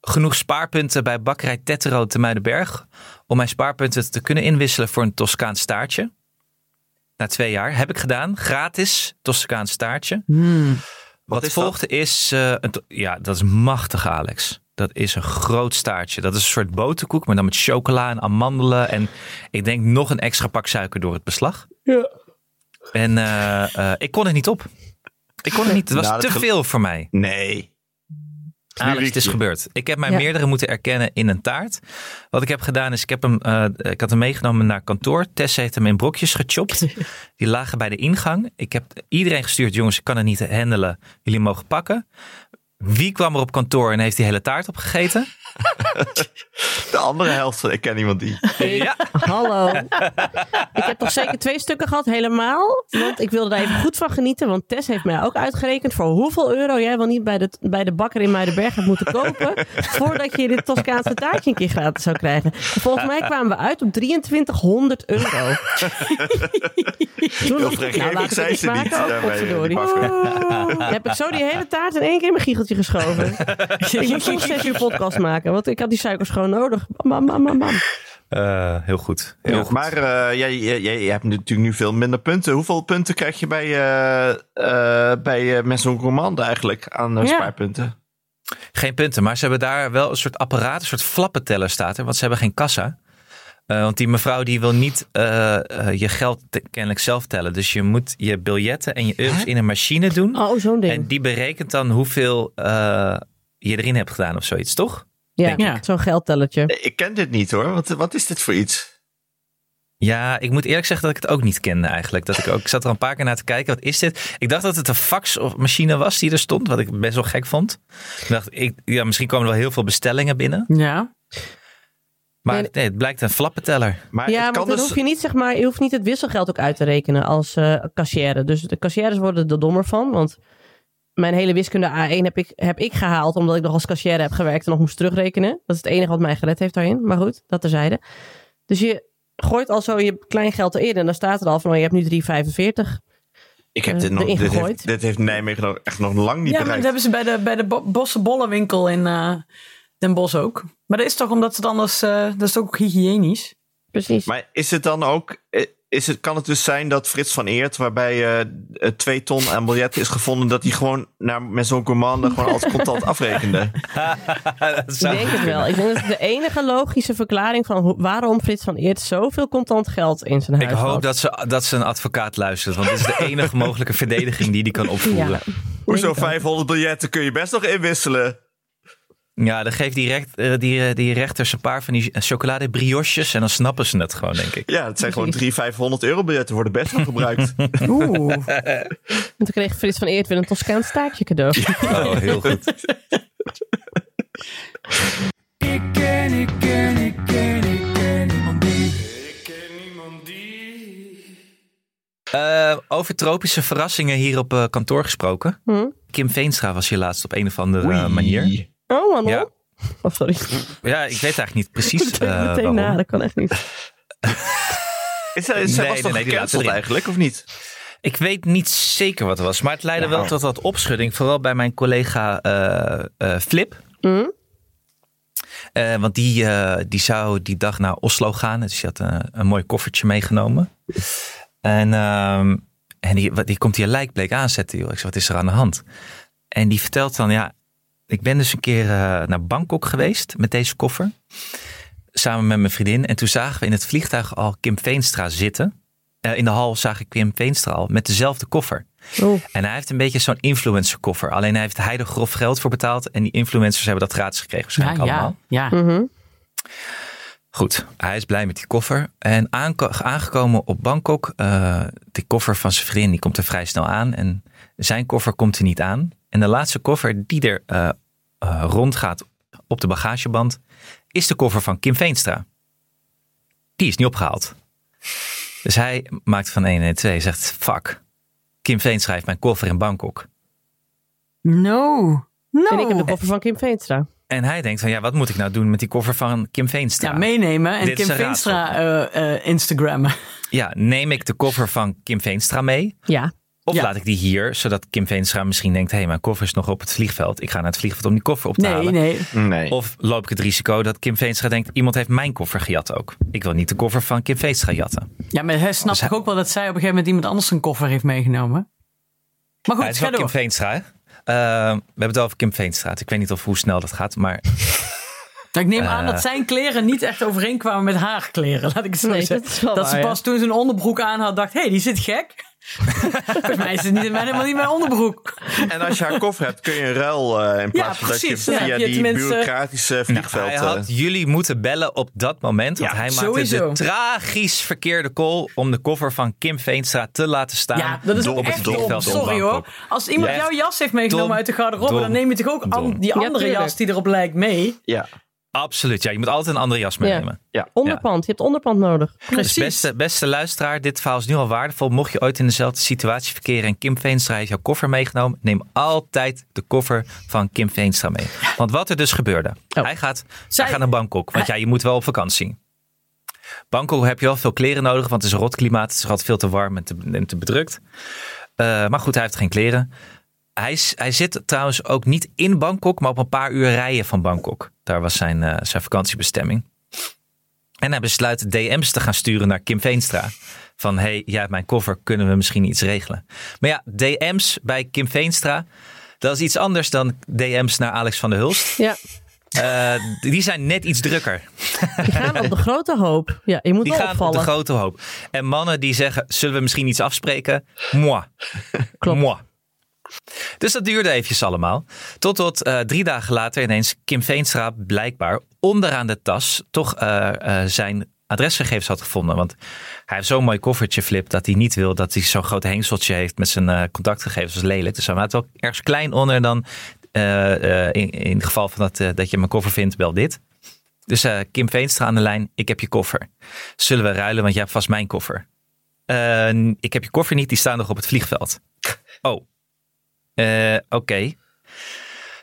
[SPEAKER 4] genoeg spaarpunten bij bakkerij Tettero te Muidenberg... om mijn spaarpunten te kunnen inwisselen voor een Toscaans staartje. Na twee jaar heb ik gedaan. Gratis Toscaans staartje.
[SPEAKER 1] Hmm.
[SPEAKER 4] Wat,
[SPEAKER 3] is dat?
[SPEAKER 4] volgde is... eh, een to- ja, dat is machtig, Alex. Dat is een groot staartje. Dat is een soort boterkoek, maar dan met chocola en amandelen. En ik denk nog een extra pak suiker door het beslag.
[SPEAKER 2] Ja.
[SPEAKER 4] En eh, eh, ik kon het niet op. Ik kon het niet. Het was
[SPEAKER 3] Nou, dat
[SPEAKER 4] te
[SPEAKER 3] gel-
[SPEAKER 4] veel voor mij.
[SPEAKER 3] Nee.
[SPEAKER 4] Alex, het is
[SPEAKER 3] Lurietje.
[SPEAKER 4] gebeurd. Ik heb mij
[SPEAKER 2] Ja.
[SPEAKER 4] meerdere moeten erkennen in een taart. Wat ik heb gedaan is, ik, heb hem, eh, ik had hem meegenomen naar kantoor. Tess heeft hem in brokjes gechopt. Die lagen bij de ingang. Ik heb iedereen gestuurd, jongens, ik kan het niet handelen. Jullie mogen pakken. Wie kwam er op kantoor en heeft die hele taart opgegeten?
[SPEAKER 3] De andere helft, van- ik ken iemand die.
[SPEAKER 4] Ja.
[SPEAKER 2] Hallo. ik heb toch zeker twee stukken gehad, helemaal. Want ik wilde daar even goed van genieten. Want Tess heeft mij ook uitgerekend voor hoeveel euro jij wel niet bij de, bij de bakker in Muidenberg hebt moeten kopen. voordat je dit Toscaanse taartje een keer gratis zou krijgen. En volgens mij kwamen we uit op 2300 euro. Toen
[SPEAKER 3] Heel
[SPEAKER 2] dacht ik,
[SPEAKER 3] vrijgevig
[SPEAKER 2] nou, laat ik het
[SPEAKER 3] zijn
[SPEAKER 2] niet
[SPEAKER 3] ze niet. eh,
[SPEAKER 2] maken, ook
[SPEAKER 3] daarmee,
[SPEAKER 2] potverdorie.
[SPEAKER 3] Marco.
[SPEAKER 2] Dan heb ik zo die hele taart in één keer in mijn giecheltje geschoven. ik moet toch zes uur podcast maken, want ik had die suikers gewoon nodig. Bam, bam, bam, bam.
[SPEAKER 4] Eh, heel goed. Heel goed.
[SPEAKER 3] Maar eh, jij, jij, jij hebt natuurlijk nu veel minder punten. Hoeveel punten krijg je bij, eh eh bij eh Maison Gourmand eigenlijk aan eh,
[SPEAKER 1] Ja.
[SPEAKER 3] spaarpunten?
[SPEAKER 4] Geen punten, maar ze hebben daar wel een soort apparaat, een soort flappenteller staat er, want ze hebben geen kassa. Eh, want die mevrouw die wil niet eh, eh, je geld te- kennelijk zelf tellen. Dus je moet je biljetten en je euro's in een machine doen.
[SPEAKER 2] Oh, zo'n ding.
[SPEAKER 4] En die berekent dan hoeveel eh, je erin hebt gedaan of zoiets, toch?
[SPEAKER 2] Ja,
[SPEAKER 4] Denk
[SPEAKER 1] ik. Ja.
[SPEAKER 2] zo'n geldtelletje.
[SPEAKER 3] Nee, Ik ken dit niet hoor. Wat, wat is dit voor iets?
[SPEAKER 4] Ja, ik moet eerlijk zeggen dat ik het ook niet kende eigenlijk. Dat ik, ook, ik zat er een paar keer naar te kijken. Wat is dit? Ik dacht dat het een faxmachine was die er stond. Wat ik best wel gek vond. Ik dacht, ik, ja, misschien komen er wel heel veel bestellingen binnen.
[SPEAKER 1] Ja.
[SPEAKER 4] Maar
[SPEAKER 2] Nee,
[SPEAKER 4] nee, het blijkt een flappenteller.
[SPEAKER 3] Maar
[SPEAKER 2] Ja,
[SPEAKER 3] het
[SPEAKER 2] maar
[SPEAKER 3] kan
[SPEAKER 2] dan
[SPEAKER 3] dus.
[SPEAKER 2] hoef je niet, zeg maar, je hoeft niet het wisselgeld ook uit te rekenen als eh kassière. Dus de kassières worden er dommer van, want mijn hele wiskunde A1 heb ik, heb ik gehaald omdat ik nog als kassière heb gewerkt en nog moest terugrekenen. Dat is het enige wat mij gered heeft daarin. Maar goed, dat terzijde. Dus je gooit al zo je kleingeld erin en dan staat er al van, oh, je hebt nu 3,45.
[SPEAKER 3] Ik heb
[SPEAKER 2] eh,
[SPEAKER 3] dit nog.
[SPEAKER 2] erin
[SPEAKER 3] Dit heeft,
[SPEAKER 2] gegooid.
[SPEAKER 3] dit heeft Nijmegen nog- echt nog lang niet
[SPEAKER 1] ja, maar dat
[SPEAKER 3] bereikt.
[SPEAKER 1] hebben ze bij de, bij de bo- Bossenbollenwinkel in eh, Den Bosch ook. Maar dat is toch omdat het anders... eh, dat is toch ook hygiënisch?
[SPEAKER 2] Precies.
[SPEAKER 3] Maar is het dan ook. eh, Is het, kan het dus zijn dat Frits van Eert, waarbij eh, eh, twee ton aan biljetten is gevonden, dat hij gewoon naar, met zo'n commande gewoon als contant afrekende?
[SPEAKER 4] Dat
[SPEAKER 2] Ik
[SPEAKER 4] zou-
[SPEAKER 2] denk het wel. Ik denk dat het de enige logische verklaring van hoe- waarom Frits van Eert zoveel contant geld in zijn
[SPEAKER 4] Ik
[SPEAKER 2] huis
[SPEAKER 4] hoop
[SPEAKER 2] had.
[SPEAKER 4] dat ze, dat ze een advocaat luistert. Want dit is de enige mogelijke verdediging die die kan opvoeren.
[SPEAKER 2] Ja.
[SPEAKER 4] Ja,
[SPEAKER 3] Hoezo
[SPEAKER 2] Denk ik ook.
[SPEAKER 3] 500 biljetten kun je best nog inwisselen?
[SPEAKER 4] dan geeft die, recht, eh, die, eh, die rechters een paar van die eh, chocoladebrioches. En dan snappen ze het gewoon, denk ik.
[SPEAKER 3] Ja, het zijn gewoon
[SPEAKER 2] Precies.
[SPEAKER 3] drie 500 euro biljetten worden best wel gebruikt.
[SPEAKER 1] Oeh.
[SPEAKER 2] En toen kreeg Frits van Eert weer een Toscaans staartje cadeau.
[SPEAKER 4] Oh, heel goed.
[SPEAKER 5] Ik ken, ik ken, ik ken, ik ken niemand die. Ik ken niemand die.
[SPEAKER 4] Eh, over tropische verrassingen hier op eh, kantoor gesproken.
[SPEAKER 2] Hm?
[SPEAKER 4] Kim Veenstra was hier laatst op een of andere
[SPEAKER 3] Oei.
[SPEAKER 4] eh, manier.
[SPEAKER 2] Oh, man.
[SPEAKER 4] Ja.
[SPEAKER 2] Oh, sorry.
[SPEAKER 4] ja, ik weet eigenlijk niet
[SPEAKER 2] Ik
[SPEAKER 4] precies
[SPEAKER 2] denk
[SPEAKER 4] eh,
[SPEAKER 2] meteen
[SPEAKER 4] waarom.
[SPEAKER 2] na, dat kan echt niet.
[SPEAKER 3] Is hij,
[SPEAKER 4] Nee,
[SPEAKER 3] zij
[SPEAKER 4] nee,
[SPEAKER 3] was toch
[SPEAKER 4] nee, die laten
[SPEAKER 3] gecanceld
[SPEAKER 4] erin.
[SPEAKER 3] eigenlijk, of niet?
[SPEAKER 4] Ik weet niet zeker wat het was, maar het leidde
[SPEAKER 3] Ja.
[SPEAKER 4] wel tot wat opschudding. Vooral bij mijn collega eh, eh, Flip.
[SPEAKER 2] Hm?
[SPEAKER 4] Eh, want die, eh, die zou die dag naar Oslo gaan. Dus die had eh, een mooi koffertje meegenomen. En, ehm, en die, wat- die komt hier lijkbleek aanzetten. Joh. Ik zei, wat is er aan de hand? En die vertelt dan, ja, ik ben dus een keer eh, naar Bangkok geweest met deze koffer. Samen met mijn vriendin. En toen zagen we in het vliegtuig al Kim Veenstra zitten. Eh, in de hal zag ik Kim Veenstra al met dezelfde koffer.
[SPEAKER 2] Oh.
[SPEAKER 4] En hij heeft een beetje zo'n influencer koffer. Alleen hij heeft hij er grof geld voor betaald. En die influencers hebben dat gratis gekregen
[SPEAKER 1] Ah, Ja,
[SPEAKER 4] waarschijnlijk allemaal.
[SPEAKER 1] ja, ja.
[SPEAKER 2] Mhm.
[SPEAKER 4] Goed, hij is blij met die koffer. En aanko- aangekomen op Bangkok, eh die koffer van zijn vriend, die komt er vrij snel aan. En zijn koffer komt er niet aan. En de laatste koffer die er eh, eh, rondgaat op de bagageband, is de koffer van Kim Veenstra. Die is niet opgehaald. Dus hij maakt van 1 en 2, Hij zegt fuck. Kim Veenstra heeft mijn koffer in Bangkok.
[SPEAKER 1] No. No.
[SPEAKER 2] En ik
[SPEAKER 4] Oh.
[SPEAKER 2] heb de koffer van Kim Veenstra.
[SPEAKER 4] En hij denkt van ja, wat moet ik nou doen met die koffer van Kim Veenstra?
[SPEAKER 1] ja, meenemen en
[SPEAKER 4] Dit is
[SPEAKER 1] Kim
[SPEAKER 4] een raadsel.
[SPEAKER 1] Veenstra eh, eh, Instagrammen.
[SPEAKER 4] ja, neem ik de koffer van Kim Veenstra mee?
[SPEAKER 2] Ja.
[SPEAKER 4] Of
[SPEAKER 1] Ja.
[SPEAKER 4] laat ik die hier, zodat Kim Veenstra misschien denkt... hé, hey, mijn koffer is nog op het vliegveld. Ik ga naar het vliegveld om die koffer op te
[SPEAKER 1] Nee,
[SPEAKER 4] halen.
[SPEAKER 1] nee.
[SPEAKER 3] Nee.
[SPEAKER 4] Of loop ik het risico dat Kim Veenstra denkt... iemand heeft mijn koffer gejat ook. Ik wil niet de koffer van Kim Veenstra jatten.
[SPEAKER 1] Ja, maar hij snapt
[SPEAKER 4] Dus hij-
[SPEAKER 1] toch ook wel dat zij op een gegeven moment iemand anders zijn koffer heeft meegenomen. Maar
[SPEAKER 4] Maar
[SPEAKER 1] goed,
[SPEAKER 4] het is
[SPEAKER 1] ga
[SPEAKER 4] wel Kim
[SPEAKER 1] door.
[SPEAKER 4] Veenstra, hè? Eh, we hebben het over Kim Veenstra. Ik weet niet of hoe snel dat gaat, maar...
[SPEAKER 1] Ik
[SPEAKER 4] Eh.
[SPEAKER 1] neem aan dat zijn kleren niet echt overeenkwamen met haar kleren, laat ik het zo
[SPEAKER 2] Nee,
[SPEAKER 1] zeggen.
[SPEAKER 2] dat is wel
[SPEAKER 1] ze
[SPEAKER 2] waar, ja.
[SPEAKER 1] pas toen ze een onderbroek aan had, dacht, hé, hey, die zit gek. Volgens mij is het niet, helemaal niet mijn onderbroek.
[SPEAKER 3] En als je haar koffer hebt, kun je een ruil eh, in plaats van
[SPEAKER 1] precies.
[SPEAKER 3] dat
[SPEAKER 1] Dan
[SPEAKER 3] je
[SPEAKER 1] heb
[SPEAKER 3] via
[SPEAKER 1] je
[SPEAKER 3] die
[SPEAKER 1] tenminste-
[SPEAKER 3] bureaucratische vliegveld...
[SPEAKER 4] Hij
[SPEAKER 3] eh,
[SPEAKER 4] had jullie moeten bellen op dat moment. Want
[SPEAKER 1] Ja,
[SPEAKER 4] hij maakte
[SPEAKER 1] sowieso.
[SPEAKER 4] de tragisch verkeerde call... om de koffer van Kim Veenstra te laten staan.
[SPEAKER 1] Ja, dat is
[SPEAKER 3] dom,
[SPEAKER 1] ook echt
[SPEAKER 3] dom,
[SPEAKER 1] dom.
[SPEAKER 3] dom,
[SPEAKER 1] Sorry
[SPEAKER 4] Bangkok.
[SPEAKER 1] hoor. Als iemand
[SPEAKER 4] Ja,
[SPEAKER 1] jouw jas heeft meegenomen
[SPEAKER 4] dom,
[SPEAKER 1] uit de garderobe,
[SPEAKER 4] dom,
[SPEAKER 1] dan neem je toch ook an-
[SPEAKER 4] dom.
[SPEAKER 1] die
[SPEAKER 2] Ja,
[SPEAKER 1] andere
[SPEAKER 2] tuurlijk.
[SPEAKER 1] jas die erop lijkt mee.
[SPEAKER 3] ja.
[SPEAKER 4] Absoluut, ja. Je moet altijd een andere jas meenemen.
[SPEAKER 2] Onderpand. Je hebt onderpand nodig.
[SPEAKER 1] Precies.
[SPEAKER 4] Dus beste, beste luisteraar, dit verhaal is nu al waardevol. Mocht je ooit in dezelfde situatie verkeren en Kim Veenstra heeft jouw koffer meegenomen, neem altijd de koffer van Kim Veenstra mee. Want wat er dus gebeurde, hij, gaat,
[SPEAKER 1] Oh. Zij-
[SPEAKER 4] hij gaat naar Bangkok, want ja, je moet wel op vakantie. Bangkok heb je wel veel kleren nodig, want het is een rotklimaat. Het is altijd veel te warm en te, en te bedrukt. Eh, maar goed, hij heeft geen kleren. Hij, is- hij zit trouwens ook niet in Bangkok, maar op een paar uur rijden van Bangkok. Daar was zijn, eh, zijn vakantiebestemming. En hij besluit DM's te gaan sturen naar Kim Veenstra. Van, hey, jij hebt mijn koffer, kunnen we misschien iets regelen? Maar ja, DM's bij Kim Veenstra, dat is iets anders dan DM's naar Alex van der Hulst.
[SPEAKER 2] Ja.
[SPEAKER 4] Eh, die zijn net iets drukker.
[SPEAKER 2] Die gaan op de grote hoop. Ja, je moet
[SPEAKER 4] Die
[SPEAKER 2] wel
[SPEAKER 4] gaan op
[SPEAKER 2] opvallen.
[SPEAKER 4] de grote hoop. En mannen die zeggen, zullen we misschien iets afspreken? Moi.
[SPEAKER 2] Klopt.
[SPEAKER 4] Moi. Dus dat duurde eventjes allemaal. Totdat eh, drie dagen later ineens Kim Veenstra blijkbaar onderaan de tas toch eh, eh, zijn adresgegevens had gevonden. Want hij heeft zo'n mooi koffertje, Flip, dat hij niet wil dat hij zo'n groot hengseltje heeft met zijn eh, contactgegevens. Dat is lelijk. Dus hij maakt wel ergens klein onder dan eh, eh, in, in het geval van dat, eh, dat je mijn koffer vindt, wel dit. Dus eh, Kim Veenstra aan de lijn, ik heb je koffer. Zullen we ruilen, want jij hebt vast mijn koffer. Eh, ik heb je koffer niet, die staan nog op het vliegveld. Oh, eh, Oké.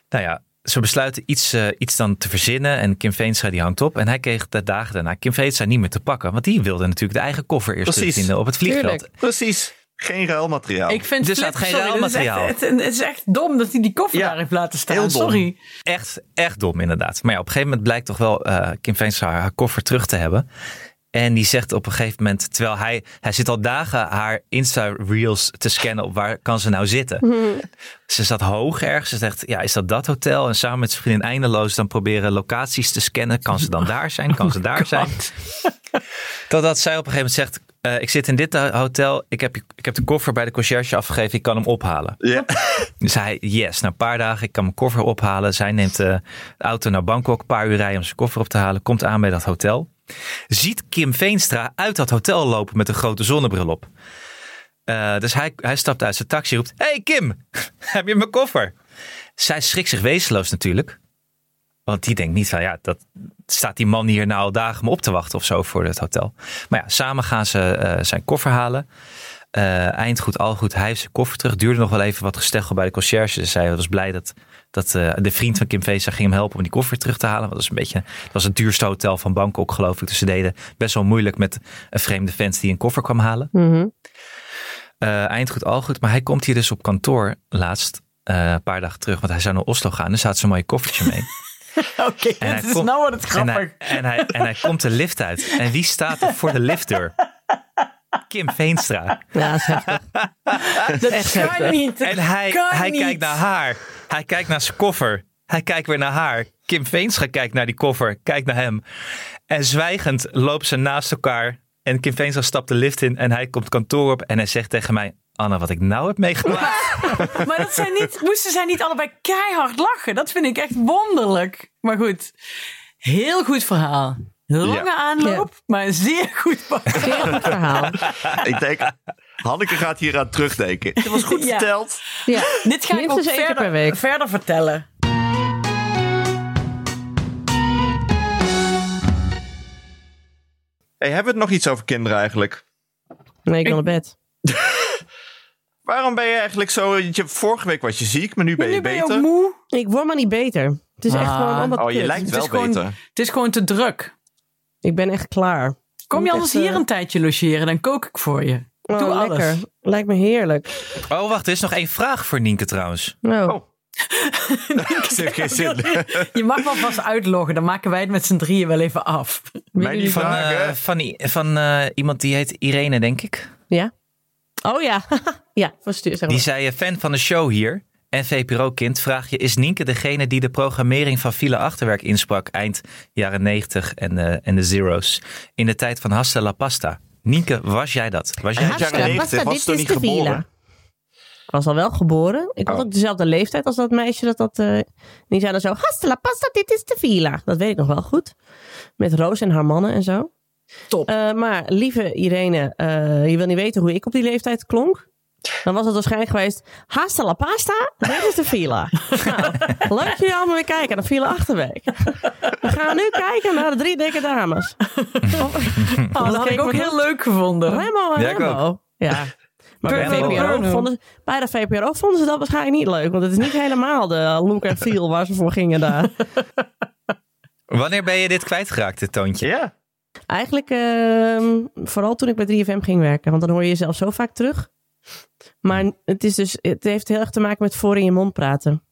[SPEAKER 4] Nou ja, ze besluiten iets, eh, iets dan te verzinnen. En Kim Veenstra die hangt op. En hij kreeg de dagen daarna Kim Veenstra niet meer te pakken. Want die wilde natuurlijk de eigen koffer eerst
[SPEAKER 3] Precies.
[SPEAKER 4] vinden op het vliegveld.
[SPEAKER 1] Tuurlijk.
[SPEAKER 3] Precies. Geen ruilmateriaal.
[SPEAKER 1] Ik vind
[SPEAKER 4] Er
[SPEAKER 1] het
[SPEAKER 4] staat
[SPEAKER 1] flip,
[SPEAKER 4] geen
[SPEAKER 1] sorry, dat is echt-
[SPEAKER 4] ruilmateriaal.
[SPEAKER 1] Het, het is echt dom dat hij die koffer
[SPEAKER 3] Ja,
[SPEAKER 1] daar heeft laten staan.
[SPEAKER 3] heel dom.
[SPEAKER 1] Sorry.
[SPEAKER 4] Echt, echt dom inderdaad. Maar ja, op een gegeven moment blijkt toch wel eh, Kim Veenstra haar, haar koffer terug te hebben. En die zegt op een gegeven moment, terwijl hij, hij zit al dagen haar Insta-reels te scannen op waar kan ze nou zitten. Ze zat hoog ergens. Ze zegt, ja, is dat dat hotel? En samen met zijn vriendin eindeloos dan proberen locaties te scannen. Kan ze dan daar zijn? Kan ze daar zijn? Totdat zij op een gegeven moment zegt, eh, ik zit in dit hotel. Ik heb, je- ik heb de koffer bij de conciërge afgegeven. Ik kan hem ophalen.
[SPEAKER 3] Ja.
[SPEAKER 4] Dus hij, yes, na een paar dagen, ik kan mijn koffer ophalen. Zij neemt eh, de auto naar Bangkok, een paar uur rijden om zijn koffer op te halen. Komt aan bij dat hotel. Ziet Kim Veenstra uit dat hotel lopen met een grote zonnebril op. Eh, dus hij, hij stapt uit zijn taxi roept, hey Kim, heb je mijn koffer? Zij schrikt zich wezenloos natuurlijk. Want die denkt niet van, ja, dat staat die man hier nou al dagen me op te wachten of zo voor het hotel. Maar ja, samen gaan ze eh, zijn koffer halen. Eh, eind goed, al goed. Hij heeft zijn koffer terug. Duurde nog wel even wat gesteggel bij de conciërge. Dus zij was blij dat, dat eh, de vriend van Kim Veesa ging hem helpen om die koffer terug te halen. Want dat is een beetje, het was het duurste hotel van Bangkok, geloof ik. Dus ze deden best wel moeilijk met een vreemde fans die een koffer kwam halen.
[SPEAKER 2] Mhm.
[SPEAKER 4] Eh, eind goed, al goed. Maar hij komt hier dus op kantoor laatst. eh, een paar dagen terug, want hij zou naar Oslo gaan. Dus hij had zijn mooie koffertje mee.
[SPEAKER 1] Oké,
[SPEAKER 4] hij
[SPEAKER 1] dit is
[SPEAKER 4] komt-
[SPEAKER 1] nou wordt het
[SPEAKER 4] en,
[SPEAKER 1] grappig.
[SPEAKER 4] hij, en, hij, en hij komt de lift uit. En wie staat er voor de liftdeur? Kim Veenstra.
[SPEAKER 2] Ja, dat is heftig.
[SPEAKER 1] dat kan niet. dat
[SPEAKER 4] En hij,
[SPEAKER 1] kan
[SPEAKER 4] hij
[SPEAKER 1] niet.
[SPEAKER 4] kijkt naar haar. Hij kijkt naar zijn koffer. Hij kijkt weer naar haar. Kim Veenstra kijkt naar die koffer. Kijkt naar hem. En zwijgend lopen ze naast elkaar. En Kim Veenstra stapt de lift in. En hij komt kantoor op. En hij zegt tegen mij. Anna, wat ik nou heb meegemaakt.
[SPEAKER 1] Maar dat zijn niet, moesten zij niet allebei keihard lachen? Dat vind ik echt wonderlijk. Maar goed, heel goed verhaal. Lange
[SPEAKER 3] Ja.
[SPEAKER 1] aanloop, maar zeer goed verhaal.
[SPEAKER 2] Zeer goed verhaal.
[SPEAKER 3] Ik denk, Hanneke gaat hier aan terugdenken. Het was goed
[SPEAKER 1] Ja.
[SPEAKER 3] verteld.
[SPEAKER 2] Ja.
[SPEAKER 1] Dit ga ik
[SPEAKER 2] Minstens
[SPEAKER 1] ook
[SPEAKER 2] één keer
[SPEAKER 1] verder,
[SPEAKER 2] per week.
[SPEAKER 1] verder vertellen.
[SPEAKER 3] Hey, hebben we het nog iets over kinderen eigenlijk?
[SPEAKER 2] Nee, ik wil naar bed.
[SPEAKER 3] Waarom ben je eigenlijk zo... Je, vorige week was je ziek, maar nu ben je
[SPEAKER 1] nu ben je
[SPEAKER 3] beter.
[SPEAKER 1] ook moe.
[SPEAKER 2] Ik word maar niet beter. Het is echt
[SPEAKER 1] Ah.
[SPEAKER 2] gewoon allemaal
[SPEAKER 3] oh, je
[SPEAKER 2] kut.
[SPEAKER 3] lijkt
[SPEAKER 1] Het
[SPEAKER 3] wel
[SPEAKER 1] is gewoon-
[SPEAKER 3] beter.
[SPEAKER 1] Het is gewoon te druk.
[SPEAKER 2] Ik ben echt klaar.
[SPEAKER 1] Kom je
[SPEAKER 2] Moet
[SPEAKER 1] anders
[SPEAKER 2] echt,
[SPEAKER 1] hier
[SPEAKER 2] eh,
[SPEAKER 1] een tijdje logeren, dan kook ik voor je. Ik doe
[SPEAKER 2] Oh,
[SPEAKER 1] alles.
[SPEAKER 2] lekker. Lijkt me heerlijk.
[SPEAKER 4] Oh, wacht. Er is nog één vraag voor Nienke trouwens.
[SPEAKER 2] Nou,
[SPEAKER 3] Oh. Dat heeft geen zin.
[SPEAKER 1] Je mag wel vast uitloggen, dan maken wij het met z'n drieën wel even af.
[SPEAKER 3] Mij die
[SPEAKER 4] Van,
[SPEAKER 3] vragen.
[SPEAKER 4] eh, van, i- van eh, iemand die heet Irene, denk ik.
[SPEAKER 2] Ja? Oh ja. ja, verstuur. Zeg
[SPEAKER 4] Die
[SPEAKER 3] Oh.
[SPEAKER 2] maar.
[SPEAKER 4] zei, eh, fan van de show hier en VPRO-kind, vraag je, is Nienke degene die de programmering van file achterwerk insprak eind jaren 90 en, eh, en de zeros in de tijd van Hasta la Pasta? Nienke, was jij dat? Was jij
[SPEAKER 3] Eind
[SPEAKER 2] Hasta
[SPEAKER 3] jaren
[SPEAKER 2] la
[SPEAKER 3] 90
[SPEAKER 2] pasta,
[SPEAKER 3] was
[SPEAKER 2] dit
[SPEAKER 3] toen
[SPEAKER 2] is
[SPEAKER 3] niet
[SPEAKER 2] de villa.
[SPEAKER 3] geboren.
[SPEAKER 2] Ik was al wel geboren. Ik had
[SPEAKER 3] Oh.
[SPEAKER 2] ook dezelfde leeftijd als dat meisje. Dat, dat, eh, die zei dan zo, hasta la pasta, dit is de villa. Dat weet ik nog wel goed. Met Roos en haar mannen en zo.
[SPEAKER 1] Top.
[SPEAKER 2] Eh, maar lieve Irene, eh, je wil niet weten hoe ik op die leeftijd klonk. Dan was het waarschijnlijk geweest, hasta la pasta, dit is de villa. nou, leuk dat jullie allemaal weer kijken naar Villa Achterwijk. We gaan nu kijken naar de drie dikke dames.
[SPEAKER 1] Oh, dat had ik Oh, ook heel leuk gevonden.
[SPEAKER 2] Remo en
[SPEAKER 4] Ja, ik
[SPEAKER 2] Remo. Ja. Maar bij,
[SPEAKER 4] Remo.
[SPEAKER 2] VPRO
[SPEAKER 1] Remo.
[SPEAKER 2] vonden, bij de VPRO vonden ze dat waarschijnlijk niet leuk. Want het is niet helemaal de look en feel waar ze voor gingen daar.
[SPEAKER 4] Wanneer ben je dit kwijtgeraakt, dit toontje?
[SPEAKER 3] Ja.
[SPEAKER 2] Eigenlijk ehm, vooral toen ik bij 3FM ging werken. Want dan hoor je jezelf zo vaak terug. Maar het, is dus, het heeft heel erg te maken met voor in je mond praten.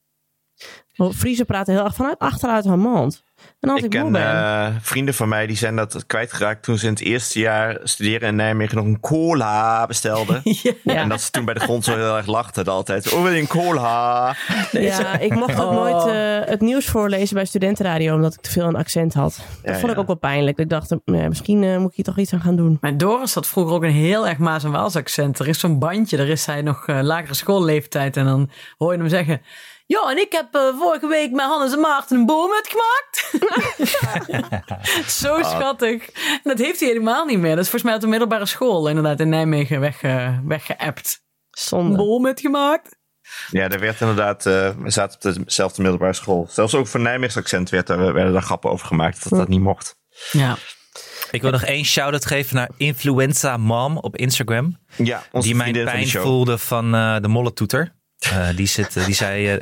[SPEAKER 2] Want Friese praten heel erg vanuit achteruit haar mond. En als
[SPEAKER 3] Ik
[SPEAKER 2] ik,
[SPEAKER 3] ken
[SPEAKER 2] moe ben.
[SPEAKER 3] eh, vrienden van mij die zijn dat kwijtgeraakt toen ze in het eerste jaar studeren in Nijmegen nog een cola bestelden.
[SPEAKER 2] ja.
[SPEAKER 3] En dat ze toen bij de grond zo heel erg lachten altijd. Oh, wil je een cola?
[SPEAKER 2] Ja, ik mocht ook
[SPEAKER 3] Oh.
[SPEAKER 2] nooit eh, het nieuws voorlezen bij studentenradio, omdat ik te veel een accent had. Dat
[SPEAKER 3] Ja,
[SPEAKER 2] vond ik
[SPEAKER 3] ja.
[SPEAKER 2] ook wel pijnlijk. Ik dacht, eh, misschien eh, moet ik hier toch iets aan gaan doen.
[SPEAKER 1] Maar Doris had vroeger ook een heel erg Maas en Waals accent. Er is zo'n bandje, daar is hij nog eh, lagere schoolleeftijd. En dan hoor je hem zeggen... Ja, en ik heb eh, vorige week met Hannes en Maarten een boomhut gemaakt. Zo schattig. En dat heeft hij helemaal niet meer. Dat is volgens mij uit de middelbare school inderdaad in Nijmegen weg, eh, weggeëpt. Een
[SPEAKER 2] Zonde.
[SPEAKER 1] boomhut gemaakt.
[SPEAKER 3] Ja, daar werd inderdaad, eh, we zaten op dezelfde middelbare school. Zelfs ook voor Nijmeegs accent werd er, werden daar grappen over gemaakt dat dat niet mocht.
[SPEAKER 1] Ja.
[SPEAKER 4] Ik wil nog één shout-out geven naar Influenza Mom op Instagram.
[SPEAKER 3] Ja, onze
[SPEAKER 4] die mijn
[SPEAKER 3] vriendin van
[SPEAKER 4] pijn
[SPEAKER 3] de show.
[SPEAKER 4] voelde van eh, de molletoeter. Eh, die, zit, eh, die zei eh,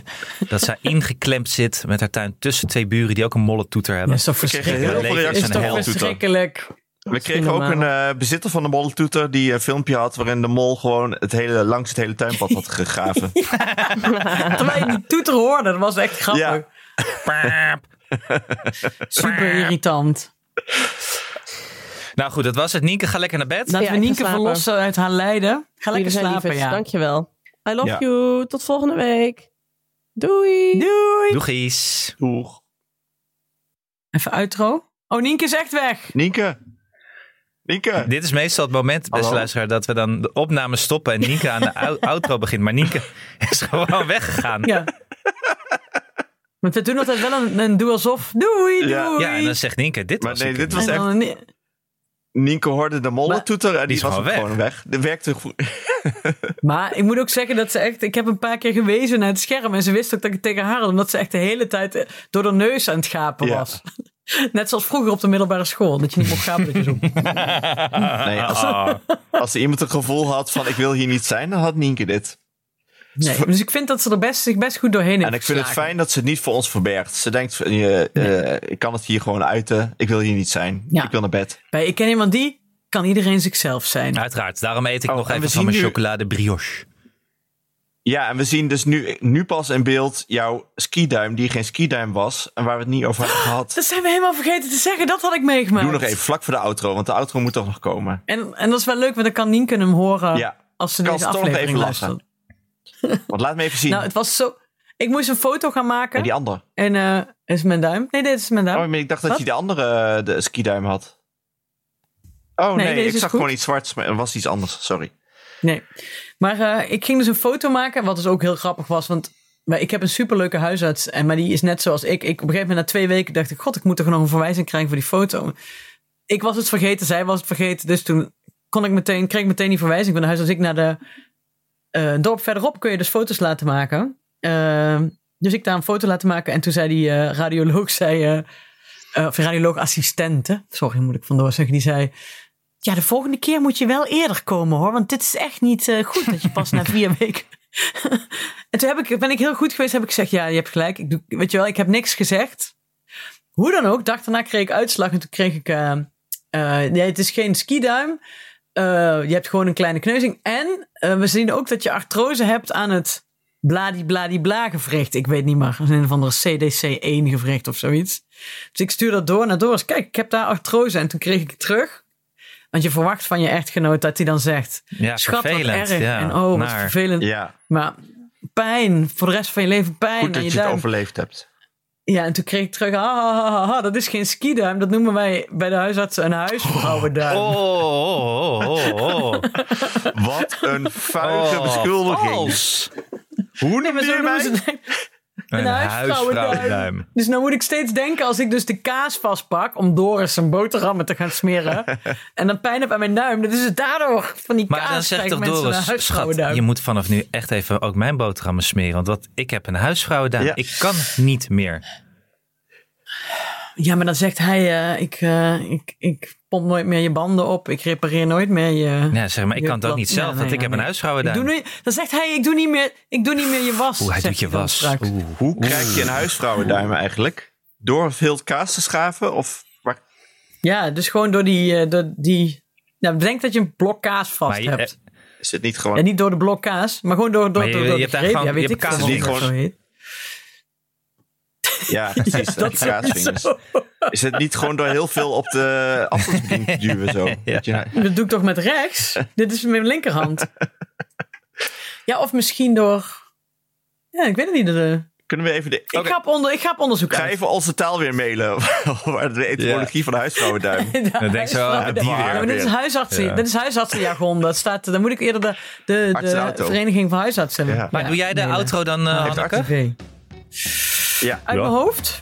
[SPEAKER 4] dat zij ingeklemd zit met haar tuin tussen twee buren die ook een molletoeter
[SPEAKER 1] Dat
[SPEAKER 4] hebben.
[SPEAKER 1] is toch
[SPEAKER 3] We kregen
[SPEAKER 1] verschrikkelijk.
[SPEAKER 3] heel veel
[SPEAKER 4] Leven is
[SPEAKER 1] Is
[SPEAKER 3] reacties
[SPEAKER 4] een
[SPEAKER 3] van de
[SPEAKER 1] toch
[SPEAKER 4] hel,
[SPEAKER 1] verschrikkelijk.
[SPEAKER 3] We kregen ook een eh, bezitter van de mollentoeter die een filmpje had waarin de mol gewoon het hele, langs het hele tuinpad had gegraven.
[SPEAKER 1] Terwijl je die toeter hoorde, dat was echt grappig.
[SPEAKER 3] Ja.
[SPEAKER 4] Paap.
[SPEAKER 1] Super irritant.
[SPEAKER 4] Nou goed, dat was het. Nienke, ga lekker naar
[SPEAKER 3] Nou,
[SPEAKER 4] bed.
[SPEAKER 1] Dat
[SPEAKER 2] Ja,
[SPEAKER 1] we
[SPEAKER 2] ik ga
[SPEAKER 1] Nienke
[SPEAKER 2] slapen.
[SPEAKER 1] verlossen uit haar lijden. Ga lekker
[SPEAKER 2] Jullie zijn
[SPEAKER 1] slapen,
[SPEAKER 2] lieverd.
[SPEAKER 1] ja.
[SPEAKER 2] Dankjewel. I love
[SPEAKER 3] Ja.
[SPEAKER 2] you. Tot volgende week. Doei.
[SPEAKER 1] Doei.
[SPEAKER 4] Doegies.
[SPEAKER 3] Doeg.
[SPEAKER 1] Even uitro. Oh, Nienke is echt weg.
[SPEAKER 3] Nienke. Nienke.
[SPEAKER 4] Dit is meestal het moment, beste
[SPEAKER 3] Hallo?
[SPEAKER 4] luisteraar, dat we dan de opname stoppen en Nienke aan de ou- outro begint. Maar Nienke is gewoon weggegaan. Ja,
[SPEAKER 1] Ja. Want we doen altijd wel een, een doe alsof. Doei, doei.
[SPEAKER 3] Ja.
[SPEAKER 4] en dan zegt Nienke, dit
[SPEAKER 3] Maar
[SPEAKER 4] was
[SPEAKER 3] nee,
[SPEAKER 4] het.
[SPEAKER 3] dit was
[SPEAKER 1] En
[SPEAKER 3] echt...
[SPEAKER 1] dan een-
[SPEAKER 3] Nienke hoorde de mollentoeter en die,
[SPEAKER 4] is
[SPEAKER 3] was
[SPEAKER 4] gewoon
[SPEAKER 3] ook
[SPEAKER 4] weg.
[SPEAKER 3] gewoon weg. De werkte goed.
[SPEAKER 1] maar ik moet ook zeggen dat ze echt... Ik heb een paar keer gewezen naar het scherm. En ze wist ook dat ik het tegen haar had. Omdat ze echt de hele tijd eh, door haar neus aan het gapen
[SPEAKER 3] Ja.
[SPEAKER 1] was. Net zoals vroeger op de middelbare school. Dat je niet mocht gapen. Dat je zo...
[SPEAKER 3] Nee, als,
[SPEAKER 4] Oh.
[SPEAKER 3] als iemand het gevoel had van ik wil hier niet zijn, dan had Nienke dit.
[SPEAKER 1] Nee. Dus ik vind dat ze er best, zich best goed doorheen heeft
[SPEAKER 3] En ik vind het
[SPEAKER 1] geslagen.
[SPEAKER 3] fijn dat ze het niet voor ons verbergt. Ze denkt, van, je, eh, ik kan het hier gewoon uiten. Ik wil hier niet zijn.
[SPEAKER 1] Ja.
[SPEAKER 3] Ik wil naar bed.
[SPEAKER 1] Bij Ik ken iemand die kan iedereen zichzelf zijn.
[SPEAKER 4] Uiteraard, daarom eet ik
[SPEAKER 3] Oh, en
[SPEAKER 4] nog even
[SPEAKER 3] we
[SPEAKER 4] van
[SPEAKER 3] zien
[SPEAKER 4] mijn
[SPEAKER 3] nu-
[SPEAKER 4] chocolade brioche.
[SPEAKER 3] Ja, en we zien dus nu, nu pas in beeld jouw skiduim, die geen skiduim was. En waar we het niet over hebben gehad.
[SPEAKER 1] Dat zijn we helemaal vergeten te zeggen. Dat had ik meegemaakt.
[SPEAKER 3] Doe nog even vlak voor de outro, want de outro moet toch nog komen.
[SPEAKER 1] En, en dat is wel leuk, want dan kan Nienke hem horen
[SPEAKER 3] Ja.
[SPEAKER 1] als ze
[SPEAKER 3] Kan
[SPEAKER 1] deze
[SPEAKER 3] ze toch nog
[SPEAKER 1] aflevering
[SPEAKER 3] even
[SPEAKER 1] luistert.
[SPEAKER 3] lachen. Want laat me even zien.
[SPEAKER 1] Nou, het was zo... Ik moest een foto gaan maken.
[SPEAKER 3] en die andere.
[SPEAKER 1] En eh, is mijn duim? Nee, dit is mijn duim.
[SPEAKER 3] Oh, maar ik dacht
[SPEAKER 1] Wat?
[SPEAKER 3] dat je de andere eh, de skiduim had. Oh
[SPEAKER 1] Nee,
[SPEAKER 3] nee,
[SPEAKER 1] deze
[SPEAKER 3] ik
[SPEAKER 1] is
[SPEAKER 3] zag
[SPEAKER 1] goed.
[SPEAKER 3] gewoon iets zwarts, maar er was iets anders. Sorry.
[SPEAKER 1] Nee. Maar eh, ik ging dus een foto maken, wat dus ook heel grappig was. Want maar ik heb een superleuke huisarts, en, maar die is net zoals ik. ik. Op een gegeven moment na twee weken dacht ik, god, ik moet toch nog een verwijzing krijgen voor die foto. Ik was het vergeten, zij was het vergeten. Dus toen kon ik meteen, kreeg ik meteen die verwijzing van de huisarts. Ik naar de eh, dorp verderop kun je dus foto's laten maken. Eh, dus ik daar een foto laten maken. En toen zei die eh, radioloog, zei, eh, eh, of radioloog-assistente, sorry moet ik vandoor zeggen, die zei... Ja, de volgende keer moet je wel eerder komen hoor. Want dit is echt niet eh, goed dat je pas na vier weken. en toen heb ik, ben ik heel goed geweest. Heb ik gezegd: Ja, je hebt gelijk. Ik doe, weet je wel, ik heb niks gezegd. Hoe dan ook, dag daarna kreeg ik uitslag. En toen kreeg ik: eh, eh, Nee, het is geen skiduim. Eh, je hebt gewoon een kleine kneuzing. En eh, we zien ook dat je artrose hebt aan het bladibladibla gewricht. Ik weet niet meer. Dat is Een of andere CDC1 gewricht of zoiets. Dus ik stuur dat door naar Doris. Kijk, ik heb daar artrose. En toen kreeg ik het terug. Want je verwacht van je echtgenoot dat hij dan zegt:
[SPEAKER 4] Ja,
[SPEAKER 1] Schat,
[SPEAKER 4] vervelend.
[SPEAKER 1] wat erg.
[SPEAKER 4] Ja,
[SPEAKER 1] en oh, wat
[SPEAKER 4] naar.
[SPEAKER 1] vervelend.
[SPEAKER 3] Ja,
[SPEAKER 1] Maar pijn, voor de rest van je leven pijn.
[SPEAKER 3] goed
[SPEAKER 1] aan
[SPEAKER 3] dat je
[SPEAKER 1] duim.
[SPEAKER 3] het overleefd hebt.
[SPEAKER 1] Ja, en toen kreeg ik terug, ah, ah, ah, ah, dat is geen skiduim. Dat noemen wij bij de huisartsen een huisvrouwenduim.
[SPEAKER 4] Oh, oh, oh, oh, oh.
[SPEAKER 3] Wat een vuige
[SPEAKER 4] Oh,
[SPEAKER 3] beschuldiging.
[SPEAKER 4] vals.
[SPEAKER 1] Nee,
[SPEAKER 3] Hoe noem
[SPEAKER 1] maar zo
[SPEAKER 3] je
[SPEAKER 1] noemen
[SPEAKER 3] mij?
[SPEAKER 1] Dus ze het echt.
[SPEAKER 4] Een huisvrouwenduim.
[SPEAKER 1] Dus nou moet ik steeds denken als ik dus de kaas vastpak om Doris zijn boterhammen te gaan smeren. en dan pijn heb aan mijn duim. Dat is het daardoor van die
[SPEAKER 4] Maar
[SPEAKER 1] kaas.
[SPEAKER 4] dan zegt
[SPEAKER 1] krijgen
[SPEAKER 4] toch
[SPEAKER 1] mensen een
[SPEAKER 4] Doris, schat,
[SPEAKER 1] huisvrouwenduim.
[SPEAKER 4] je moet vanaf nu echt even ook mijn boterhammen smeren. Want wat, ik heb een huisvrouwenduim.
[SPEAKER 3] Ja.
[SPEAKER 4] Ik kan niet meer.
[SPEAKER 1] Ja, maar dan zegt hij, eh, ik, eh, ik, ik pomp nooit meer je banden op. Ik repareer nooit meer je...
[SPEAKER 4] Ja, zeg maar, ik
[SPEAKER 1] Je
[SPEAKER 4] kan het ook
[SPEAKER 1] plat-
[SPEAKER 4] niet
[SPEAKER 1] Ja,
[SPEAKER 4] zelf,
[SPEAKER 1] nee,
[SPEAKER 4] want ik
[SPEAKER 1] ja,
[SPEAKER 4] heb een
[SPEAKER 1] nee. Ik doe
[SPEAKER 4] huisvrouwenduim.
[SPEAKER 1] nu, dan zegt hij, ik doe niet meer, ik doe niet meer je was.
[SPEAKER 4] Oeh, hij
[SPEAKER 1] zegt
[SPEAKER 4] doet je
[SPEAKER 1] dan
[SPEAKER 4] was.
[SPEAKER 1] straks.
[SPEAKER 4] Oeh.
[SPEAKER 3] Hoe krijg je een huisvrouwenduim eigenlijk? Door veel kaas te schaven? Of waar-
[SPEAKER 1] Ja, dus gewoon door die, eh, door die nou, bedenk dat je een blok kaas vast
[SPEAKER 4] Maar je-
[SPEAKER 1] hebt.
[SPEAKER 3] is het niet gewoon...
[SPEAKER 1] ja, niet door de blok kaas, maar gewoon door, door,
[SPEAKER 4] Maar je-
[SPEAKER 1] door, door
[SPEAKER 4] je
[SPEAKER 1] de
[SPEAKER 4] hebt daar
[SPEAKER 1] greep.
[SPEAKER 4] gewoon-
[SPEAKER 1] ja, weet
[SPEAKER 4] je
[SPEAKER 1] ik
[SPEAKER 4] hebt
[SPEAKER 1] veel
[SPEAKER 4] kaas
[SPEAKER 1] hoe
[SPEAKER 3] die
[SPEAKER 1] dat
[SPEAKER 3] gewoon-
[SPEAKER 1] zo heet.
[SPEAKER 3] Ja, precies.
[SPEAKER 1] dat
[SPEAKER 3] Dat kaatsvingers.
[SPEAKER 1] sowieso.
[SPEAKER 3] Is het niet gewoon door heel veel op de afstandsbediening te duwen zo? Dat je-
[SPEAKER 1] Dat doe ik toch met rechts? Dit is met mijn linkerhand. Ja, of misschien door... Ja, ik weet het niet. De...
[SPEAKER 3] Kunnen we even de...
[SPEAKER 1] Ik, ga op onder, ik ga op onderzoek
[SPEAKER 3] Ga
[SPEAKER 1] uit.
[SPEAKER 3] even onze taal weer mailen. Waar de etymologie van de
[SPEAKER 1] De
[SPEAKER 3] huisvrouwenduim.
[SPEAKER 4] Dan denk je wel,
[SPEAKER 1] huisvrouw-
[SPEAKER 4] ja,
[SPEAKER 3] die
[SPEAKER 1] Ja, maar
[SPEAKER 3] weer.
[SPEAKER 1] dit is huisartsen.
[SPEAKER 4] Ja.
[SPEAKER 1] Dit is huisartsenjargon. Dat staat, dan moet ik eerder de, de,
[SPEAKER 3] Arts en
[SPEAKER 1] de
[SPEAKER 3] auto.
[SPEAKER 1] vereniging van huisartsen hebben.
[SPEAKER 3] Ja.
[SPEAKER 4] Maar
[SPEAKER 1] Ja,
[SPEAKER 4] doe jij de
[SPEAKER 1] nee, nee.
[SPEAKER 4] outro dan, eh Hanneke?
[SPEAKER 1] Arts TV.
[SPEAKER 3] Ja.
[SPEAKER 1] Uit mijn hoofd?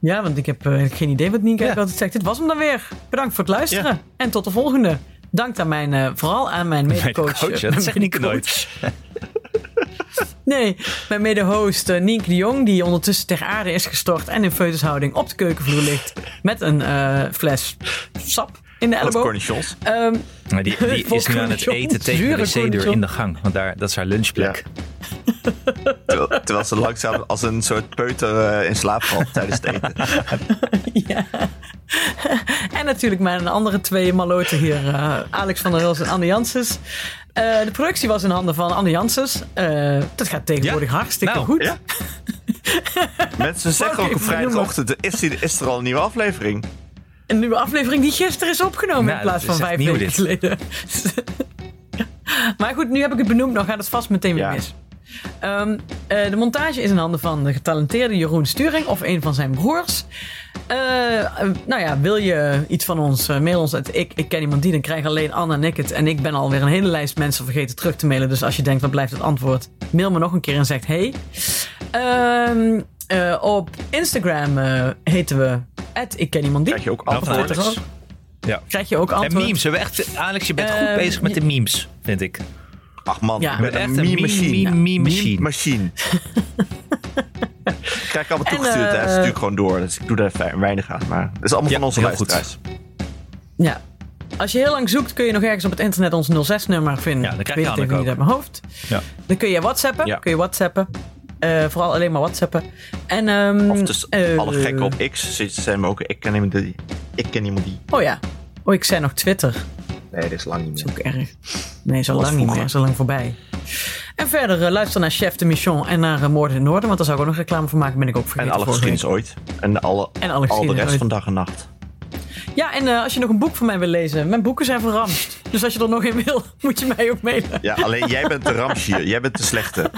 [SPEAKER 1] Ja, want ik heb eh, geen idee wat Nienke
[SPEAKER 4] Ja.
[SPEAKER 1] altijd zegt. Dit was hem dan weer. Bedankt voor het luisteren. En tot de volgende. Dank aan mijn, eh, vooral aan mijn medecoach.
[SPEAKER 4] Coach,
[SPEAKER 1] eh,
[SPEAKER 4] dat
[SPEAKER 1] mijn
[SPEAKER 4] zegt Nieke
[SPEAKER 1] medecoach.
[SPEAKER 4] nooit.
[SPEAKER 1] Nee, mijn mede-host eh, Nienke de Jong, die ondertussen ter aarde is gestort en in feutushouding op de keukenvloer ligt. Met een eh, fles sap in de
[SPEAKER 3] Wat
[SPEAKER 1] elleboog.
[SPEAKER 3] cornichons.
[SPEAKER 1] Ehm,
[SPEAKER 4] Maar die, die is nu aan het
[SPEAKER 1] Volkoren,
[SPEAKER 4] eten tegen
[SPEAKER 1] zure
[SPEAKER 4] de wc-deur
[SPEAKER 1] koren,
[SPEAKER 4] in de gang. Want daar, dat is haar lunchplek.
[SPEAKER 3] Terwijl, terwijl ze langzaam als een soort peuter eh, in slaap valt tijdens het eten.
[SPEAKER 1] ja. en natuurlijk mijn andere twee maloten hier, eh, Alex van der Huls en Anne Janssens. Eh, de productie was in handen van Anne Janssens. Eh, dat gaat tegenwoordig
[SPEAKER 4] Ja?
[SPEAKER 1] hartstikke
[SPEAKER 4] Nou,
[SPEAKER 1] goed.
[SPEAKER 3] Ja. Mensen zeggen
[SPEAKER 1] Oké,
[SPEAKER 3] ook op
[SPEAKER 1] benoemen.
[SPEAKER 3] vrijdagochtend, is, die- is er al een nieuwe aflevering?
[SPEAKER 1] Een nieuwe aflevering die gisteren is opgenomen
[SPEAKER 4] Nou,
[SPEAKER 1] in plaats
[SPEAKER 4] dat
[SPEAKER 1] van
[SPEAKER 4] is
[SPEAKER 1] vijf
[SPEAKER 4] echt nieuw,
[SPEAKER 1] weken geleden. maar goed, nu heb ik het benoemd, dan gaat het vast meteen weer
[SPEAKER 3] Ja.
[SPEAKER 1] mis. Ehm, eh, de montage is in handen van de getalenteerde Jeroen Sturing of een van zijn broers. Eh, eh, nou ja, wil je iets van ons, eh, mail ons. uit ik, ik ken iemand die, dan krijgen alleen Anne en ik het. En ik ben alweer een hele lijst mensen vergeten terug te mailen. Dus als je denkt, wat blijft het antwoord? Mail me nog een keer en zegt hey. Ehm, eh, op Instagram eh, heten we ik ken iemand die.
[SPEAKER 3] Krijg je ook
[SPEAKER 4] Nou,
[SPEAKER 3] antwoorden?
[SPEAKER 4] Alex.
[SPEAKER 1] Alex.
[SPEAKER 4] Ja.
[SPEAKER 1] Krijg je ook
[SPEAKER 4] En
[SPEAKER 1] antwoord?
[SPEAKER 4] memes. We hebben echt, Alex, je bent goed
[SPEAKER 1] Ehm,
[SPEAKER 4] bezig met de memes, vind ik.
[SPEAKER 3] Ach man,
[SPEAKER 1] Ja.
[SPEAKER 3] ik ben
[SPEAKER 4] Echt
[SPEAKER 3] een
[SPEAKER 4] een meme-
[SPEAKER 3] meme-machine.
[SPEAKER 4] meme- meme-machine.
[SPEAKER 3] Meme-machine. Krijg ik allemaal
[SPEAKER 1] En,
[SPEAKER 3] toegestuurd. hè.
[SPEAKER 1] eh,
[SPEAKER 3] Stuur ik gewoon door. Dus ik doe daar fijn- weinig aan. Maar het is allemaal
[SPEAKER 4] Ja,
[SPEAKER 3] van onze
[SPEAKER 4] heel goed.
[SPEAKER 3] luisteraars.
[SPEAKER 1] Ja. Als je heel lang zoekt, kun je nog ergens op het internet ons 06-nummer vinden.
[SPEAKER 4] Ja, dan krijg
[SPEAKER 1] ik
[SPEAKER 4] je
[SPEAKER 1] weet het even
[SPEAKER 4] Hanneke
[SPEAKER 1] niet
[SPEAKER 4] ook.
[SPEAKER 1] uit mijn hoofd.
[SPEAKER 4] Ja.
[SPEAKER 1] Dan kun je whatsappen.
[SPEAKER 3] Ja.
[SPEAKER 1] Kun je whatsappen. Eh, vooral alleen maar whatsappen. En, ehm,
[SPEAKER 3] Of dus
[SPEAKER 1] eh,
[SPEAKER 3] alle gekken op X zitten zijn we ook. Ik ken iemand die. Ik ken iemand die.
[SPEAKER 1] Oh ja. Oh, ik zei nog Twitter.
[SPEAKER 3] Nee, dat is lang niet
[SPEAKER 1] Dat is ook erg. Nee, zo
[SPEAKER 3] was
[SPEAKER 1] lang niet
[SPEAKER 3] vroeger.
[SPEAKER 1] meer. Zo lang voorbij. En verder eh, luister naar Chef de Mission en naar eh, Moorden in het Noorden. Want daar zou ik ook nog reclame voor maken. Ben ik ook vergeten
[SPEAKER 3] En alle
[SPEAKER 1] vorige week.
[SPEAKER 3] geschiedenis ooit. En, alle,
[SPEAKER 1] En alle
[SPEAKER 3] al de
[SPEAKER 1] geschiedenis
[SPEAKER 3] rest
[SPEAKER 1] ooit.
[SPEAKER 3] van dag en nacht.
[SPEAKER 1] Ja, en eh, als je nog een boek van mij wil lezen. Mijn boeken zijn verramst. Dus als je er nog in wil, moet je mij ook mailen.
[SPEAKER 3] Ja, alleen jij bent de ramsje. Jij bent de slechte.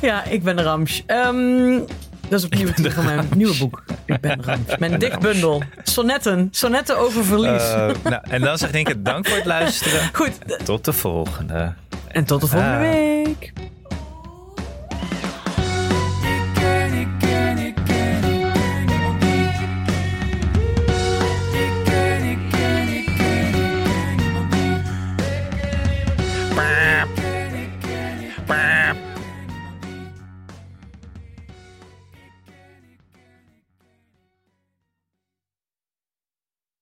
[SPEAKER 1] Ja, ik ben Rams. Ehm, dat is opnieuw het titel van mijn nieuwe boek. Ik ben Rams. Mijn dikbundel. Sonnetten. Sonnetten over verlies.
[SPEAKER 4] Eh, nou, en dan zeg ik, dank voor het luisteren.
[SPEAKER 1] Goed,
[SPEAKER 4] Tot de volgende.
[SPEAKER 1] en tot de volgende
[SPEAKER 4] Ah.
[SPEAKER 1] week.